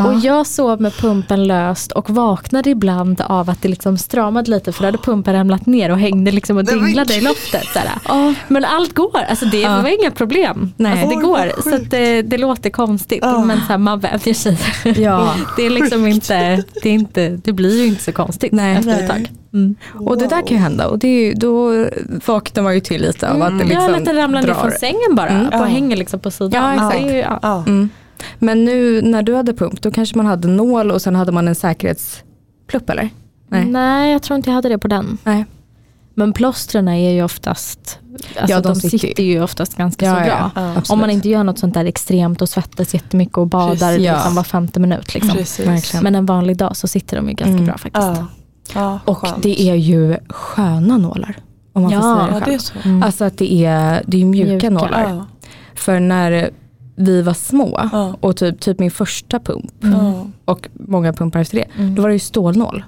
Speaker 2: Och jag sov med pumpen löst och vaknade ibland av att det liksom stramade lite för då hade pumpen ramlat ner och hängde liksom och
Speaker 3: Nej, men
Speaker 2: dinglade i loftet. Såhär. Men allt går, alltså det var inga problem.
Speaker 1: Nej.
Speaker 2: Alltså det
Speaker 3: Oj,
Speaker 2: går,
Speaker 3: vad
Speaker 2: så att det, det låter konstigt
Speaker 3: Ja.
Speaker 2: men så här, man vänjer sig.
Speaker 1: Ja.
Speaker 2: Det, är liksom inte, det, är inte, det blir ju inte så konstigt
Speaker 1: Nej.
Speaker 2: efter ett
Speaker 3: Nej.
Speaker 2: tag. Mm.
Speaker 1: Och det där kan ju hända och det är ju, då vaknar man ju till lite av att det
Speaker 2: jag har
Speaker 1: liksom
Speaker 2: lite ramlat ner
Speaker 1: drar.
Speaker 2: från sängen bara
Speaker 1: Mm.
Speaker 2: och
Speaker 3: Ja.
Speaker 2: hänger liksom på sidan.
Speaker 1: Ja,
Speaker 2: Så det är ju- ja.
Speaker 3: Ja.
Speaker 1: Mm. Men nu när du hade pump då kanske man hade nål och sen hade man en säkerhetsplupp eller? Nej.
Speaker 2: Nej. jag tror inte jag hade det på den.
Speaker 1: Nej.
Speaker 2: Men plåstren är ju oftast, alltså
Speaker 1: Ja, de
Speaker 2: de,
Speaker 1: sitter
Speaker 2: sitter,
Speaker 1: ju.
Speaker 2: ju oftast ganska så bra.
Speaker 3: Ja.
Speaker 2: Om
Speaker 1: absolut.
Speaker 2: man inte gör något sånt där extremt och svettas jättemycket och badar
Speaker 3: Precis.
Speaker 1: Ja.
Speaker 2: liksom var femte minut. Liksom.
Speaker 3: Precis.
Speaker 1: Verkligen.
Speaker 2: Men en vanlig dag så sitter de ju ganska
Speaker 1: Mm.
Speaker 2: bra faktiskt.
Speaker 3: Ja. Ja,
Speaker 1: Och
Speaker 3: skönt.
Speaker 1: det är ju sköna nålar. Om man får säga
Speaker 2: Ja.
Speaker 1: det
Speaker 3: ja,
Speaker 1: själv.
Speaker 3: det är så.
Speaker 2: Mm.
Speaker 1: Alltså att det är, det är ju mjuka,
Speaker 2: Mjuka.
Speaker 1: nålar.
Speaker 3: Ja.
Speaker 1: För när vi var små
Speaker 3: Ja.
Speaker 1: och typ, typ min första pump
Speaker 3: Ja.
Speaker 1: och många pumpar efter det,
Speaker 2: Mm.
Speaker 1: då var det ju stålnål.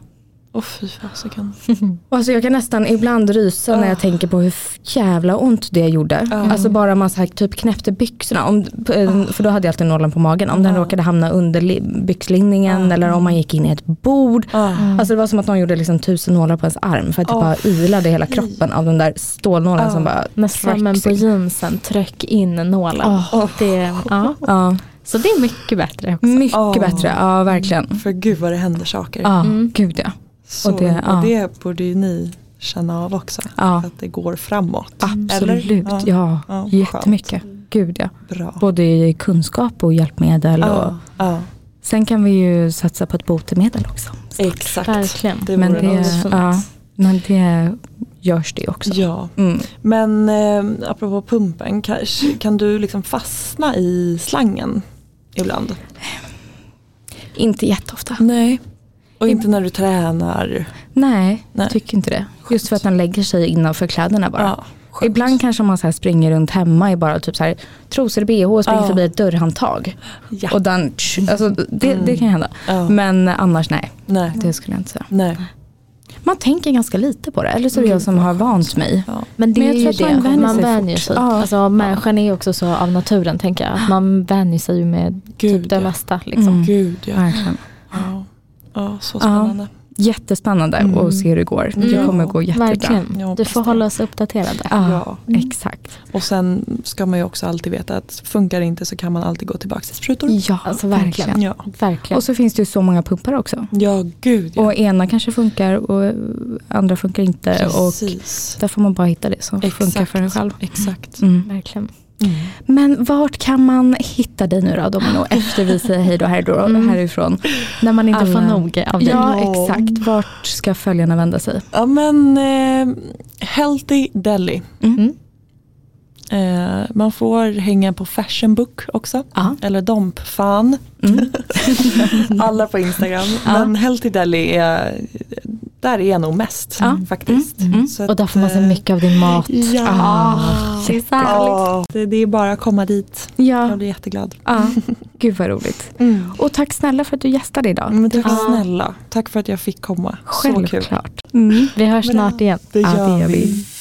Speaker 3: Åh fy fasiken.
Speaker 1: Och alltså jag kan nästan ibland rysa när jag
Speaker 3: Ah.
Speaker 1: tänker på hur f- jävla ont det gjorde.
Speaker 3: Ja.
Speaker 1: Alltså bara man så här, typ knäppte byxorna, om, p-
Speaker 3: Ah.
Speaker 1: eh, för då hade jag alltid nålen på magen. Om den
Speaker 3: Ja.
Speaker 1: råkade hamna under li- byxlinningen
Speaker 3: Ja.
Speaker 1: eller om man gick in i ett bord.
Speaker 3: Ja.
Speaker 1: Alltså det var som att någon gjorde liksom tusen nålar på ens arm för att det
Speaker 3: Åh,
Speaker 1: bara ylade hela
Speaker 3: Ah. fy. Ah.
Speaker 1: kroppen av den där stålnålen
Speaker 3: Ja.
Speaker 1: som bara
Speaker 2: När sömmen på
Speaker 1: in.
Speaker 2: jeansen tryck in nålen.
Speaker 1: Åh.
Speaker 2: Det, ja.
Speaker 1: Ja,
Speaker 2: Så det är mycket bättre också.
Speaker 1: mycket
Speaker 3: Åh.
Speaker 1: bättre, ja verkligen.
Speaker 3: För gud vad det händer saker.
Speaker 1: Ja,
Speaker 2: Mm.
Speaker 1: gud ja.
Speaker 3: Så,
Speaker 1: och
Speaker 3: och,
Speaker 1: det-
Speaker 3: det,
Speaker 1: ja.
Speaker 3: borde ju ni känna av också.
Speaker 1: ja.
Speaker 3: Att det går framåt.
Speaker 1: Absolut,
Speaker 3: Eller? Ah. Ja.
Speaker 1: ja.
Speaker 3: Ja,
Speaker 1: Jättemycket. Gud ja.
Speaker 3: Bra.
Speaker 1: Både i kunskap och hjälpmedel. Och.
Speaker 3: Ja, ja.
Speaker 1: Sen kan vi ju satsa på ett botemedel också.
Speaker 3: Exakt.
Speaker 2: Verkligen.
Speaker 3: Det
Speaker 1: Men
Speaker 3: vore
Speaker 1: det-
Speaker 3: något.
Speaker 1: ja. Men det görs det också.
Speaker 3: Ja,
Speaker 1: Mm.
Speaker 3: men eh, apropå pumpen, kanske, kan du liksom fastna i slangen ibland?
Speaker 1: Inte jätteofta.
Speaker 3: Nej. Och inte när du tränar?
Speaker 1: Nej,
Speaker 3: Nej.
Speaker 1: jag tycker inte det. Just för att den lägger sig innanför kläderna bara.
Speaker 3: Ja, skönt.
Speaker 1: Ibland kanske man så här springer runt hemma i bara typ så här, trosor, bh och springer
Speaker 3: Ja.
Speaker 1: förbi ett dörrhandtag.
Speaker 3: Ja. Mm.
Speaker 1: Och den, tsch, alltså, det, det kan hända.
Speaker 3: ja.
Speaker 1: Men annars nej,
Speaker 3: Nej.
Speaker 1: det skulle jag inte säga.
Speaker 3: Nej.
Speaker 1: Man tänker ganska lite på det, eller så är det jag som har vant mig.
Speaker 3: Ja.
Speaker 2: Men det
Speaker 1: Men jag
Speaker 2: är ju
Speaker 1: tror att man
Speaker 2: det,
Speaker 1: vänjer
Speaker 2: man
Speaker 1: sig
Speaker 2: vänjer
Speaker 1: fort.
Speaker 2: sig.
Speaker 1: Ja.
Speaker 2: Alltså, människan är ju också så av naturen tänker jag. Att man vänjer sig ju med
Speaker 3: Gud,
Speaker 2: typ det
Speaker 3: ja.
Speaker 2: mesta. Liksom.
Speaker 1: Mm.
Speaker 3: Gud ja.
Speaker 1: Verkligen.
Speaker 3: ja. Ja, så spännande.
Speaker 1: Jättespännande
Speaker 3: Mm.
Speaker 1: att se hur det går. Det
Speaker 3: Ja.
Speaker 1: kommer gå jättebra.
Speaker 2: Verkligen.
Speaker 3: Jag hoppas
Speaker 2: Du får
Speaker 3: det.
Speaker 2: hålla oss uppdaterade.
Speaker 1: Ja,
Speaker 3: Ja.
Speaker 1: Mm. exakt.
Speaker 3: Och sen ska man ju också alltid veta att funkar det inte så kan man alltid gå tillbaka till sprutor.
Speaker 1: Ja,
Speaker 2: Alltså, verkligen.
Speaker 3: Ja,
Speaker 2: Verkligen.
Speaker 1: Och så finns det ju så många pumpar också.
Speaker 3: ja gud ja.
Speaker 1: Och ena kanske funkar och andra funkar inte. Och
Speaker 3: Precis.
Speaker 1: där får man bara hitta det som funkar för en själv.
Speaker 3: Exakt.
Speaker 1: Mm.
Speaker 2: verkligen.
Speaker 1: Men vart kan man hitta dig nu då Domino efter vi säger hej då här då,
Speaker 2: Mm.
Speaker 1: härifrån?
Speaker 2: När man inte
Speaker 1: Alla-
Speaker 2: får nog av dig.
Speaker 1: Ja
Speaker 3: Ja.
Speaker 1: exakt, vart ska följarna vända sig?
Speaker 3: Ja men eh, Healthy Deli.
Speaker 2: Mm.
Speaker 3: Eh, man får hänga på Fashion Book också.
Speaker 1: Ja.
Speaker 3: Eller Dompfan.
Speaker 1: Mm.
Speaker 3: Alla på Instagram. Men Healthy Deli är, där är jag nog mest
Speaker 1: Ja.
Speaker 3: faktiskt.
Speaker 1: Mm. Mm.
Speaker 3: Så
Speaker 2: Och där får man se
Speaker 3: eh,
Speaker 2: mycket av din mat.
Speaker 3: Ja.
Speaker 2: Ah,
Speaker 1: det är
Speaker 2: exakt.
Speaker 3: Ja, det, det är bara att komma dit. Jag
Speaker 1: Ja,
Speaker 3: blir jätteglad.
Speaker 1: ja. gud vad roligt. Och tack snälla för att du gästade idag.
Speaker 3: Men tack
Speaker 2: Ja.
Speaker 3: snälla. Tack för att jag fick komma. Så kul.
Speaker 1: Självklart. Mm.
Speaker 2: Vi hörs
Speaker 3: Bra.
Speaker 2: snart igen.
Speaker 3: Det
Speaker 1: Ja,
Speaker 3: gör
Speaker 1: det gör vi.
Speaker 3: vi.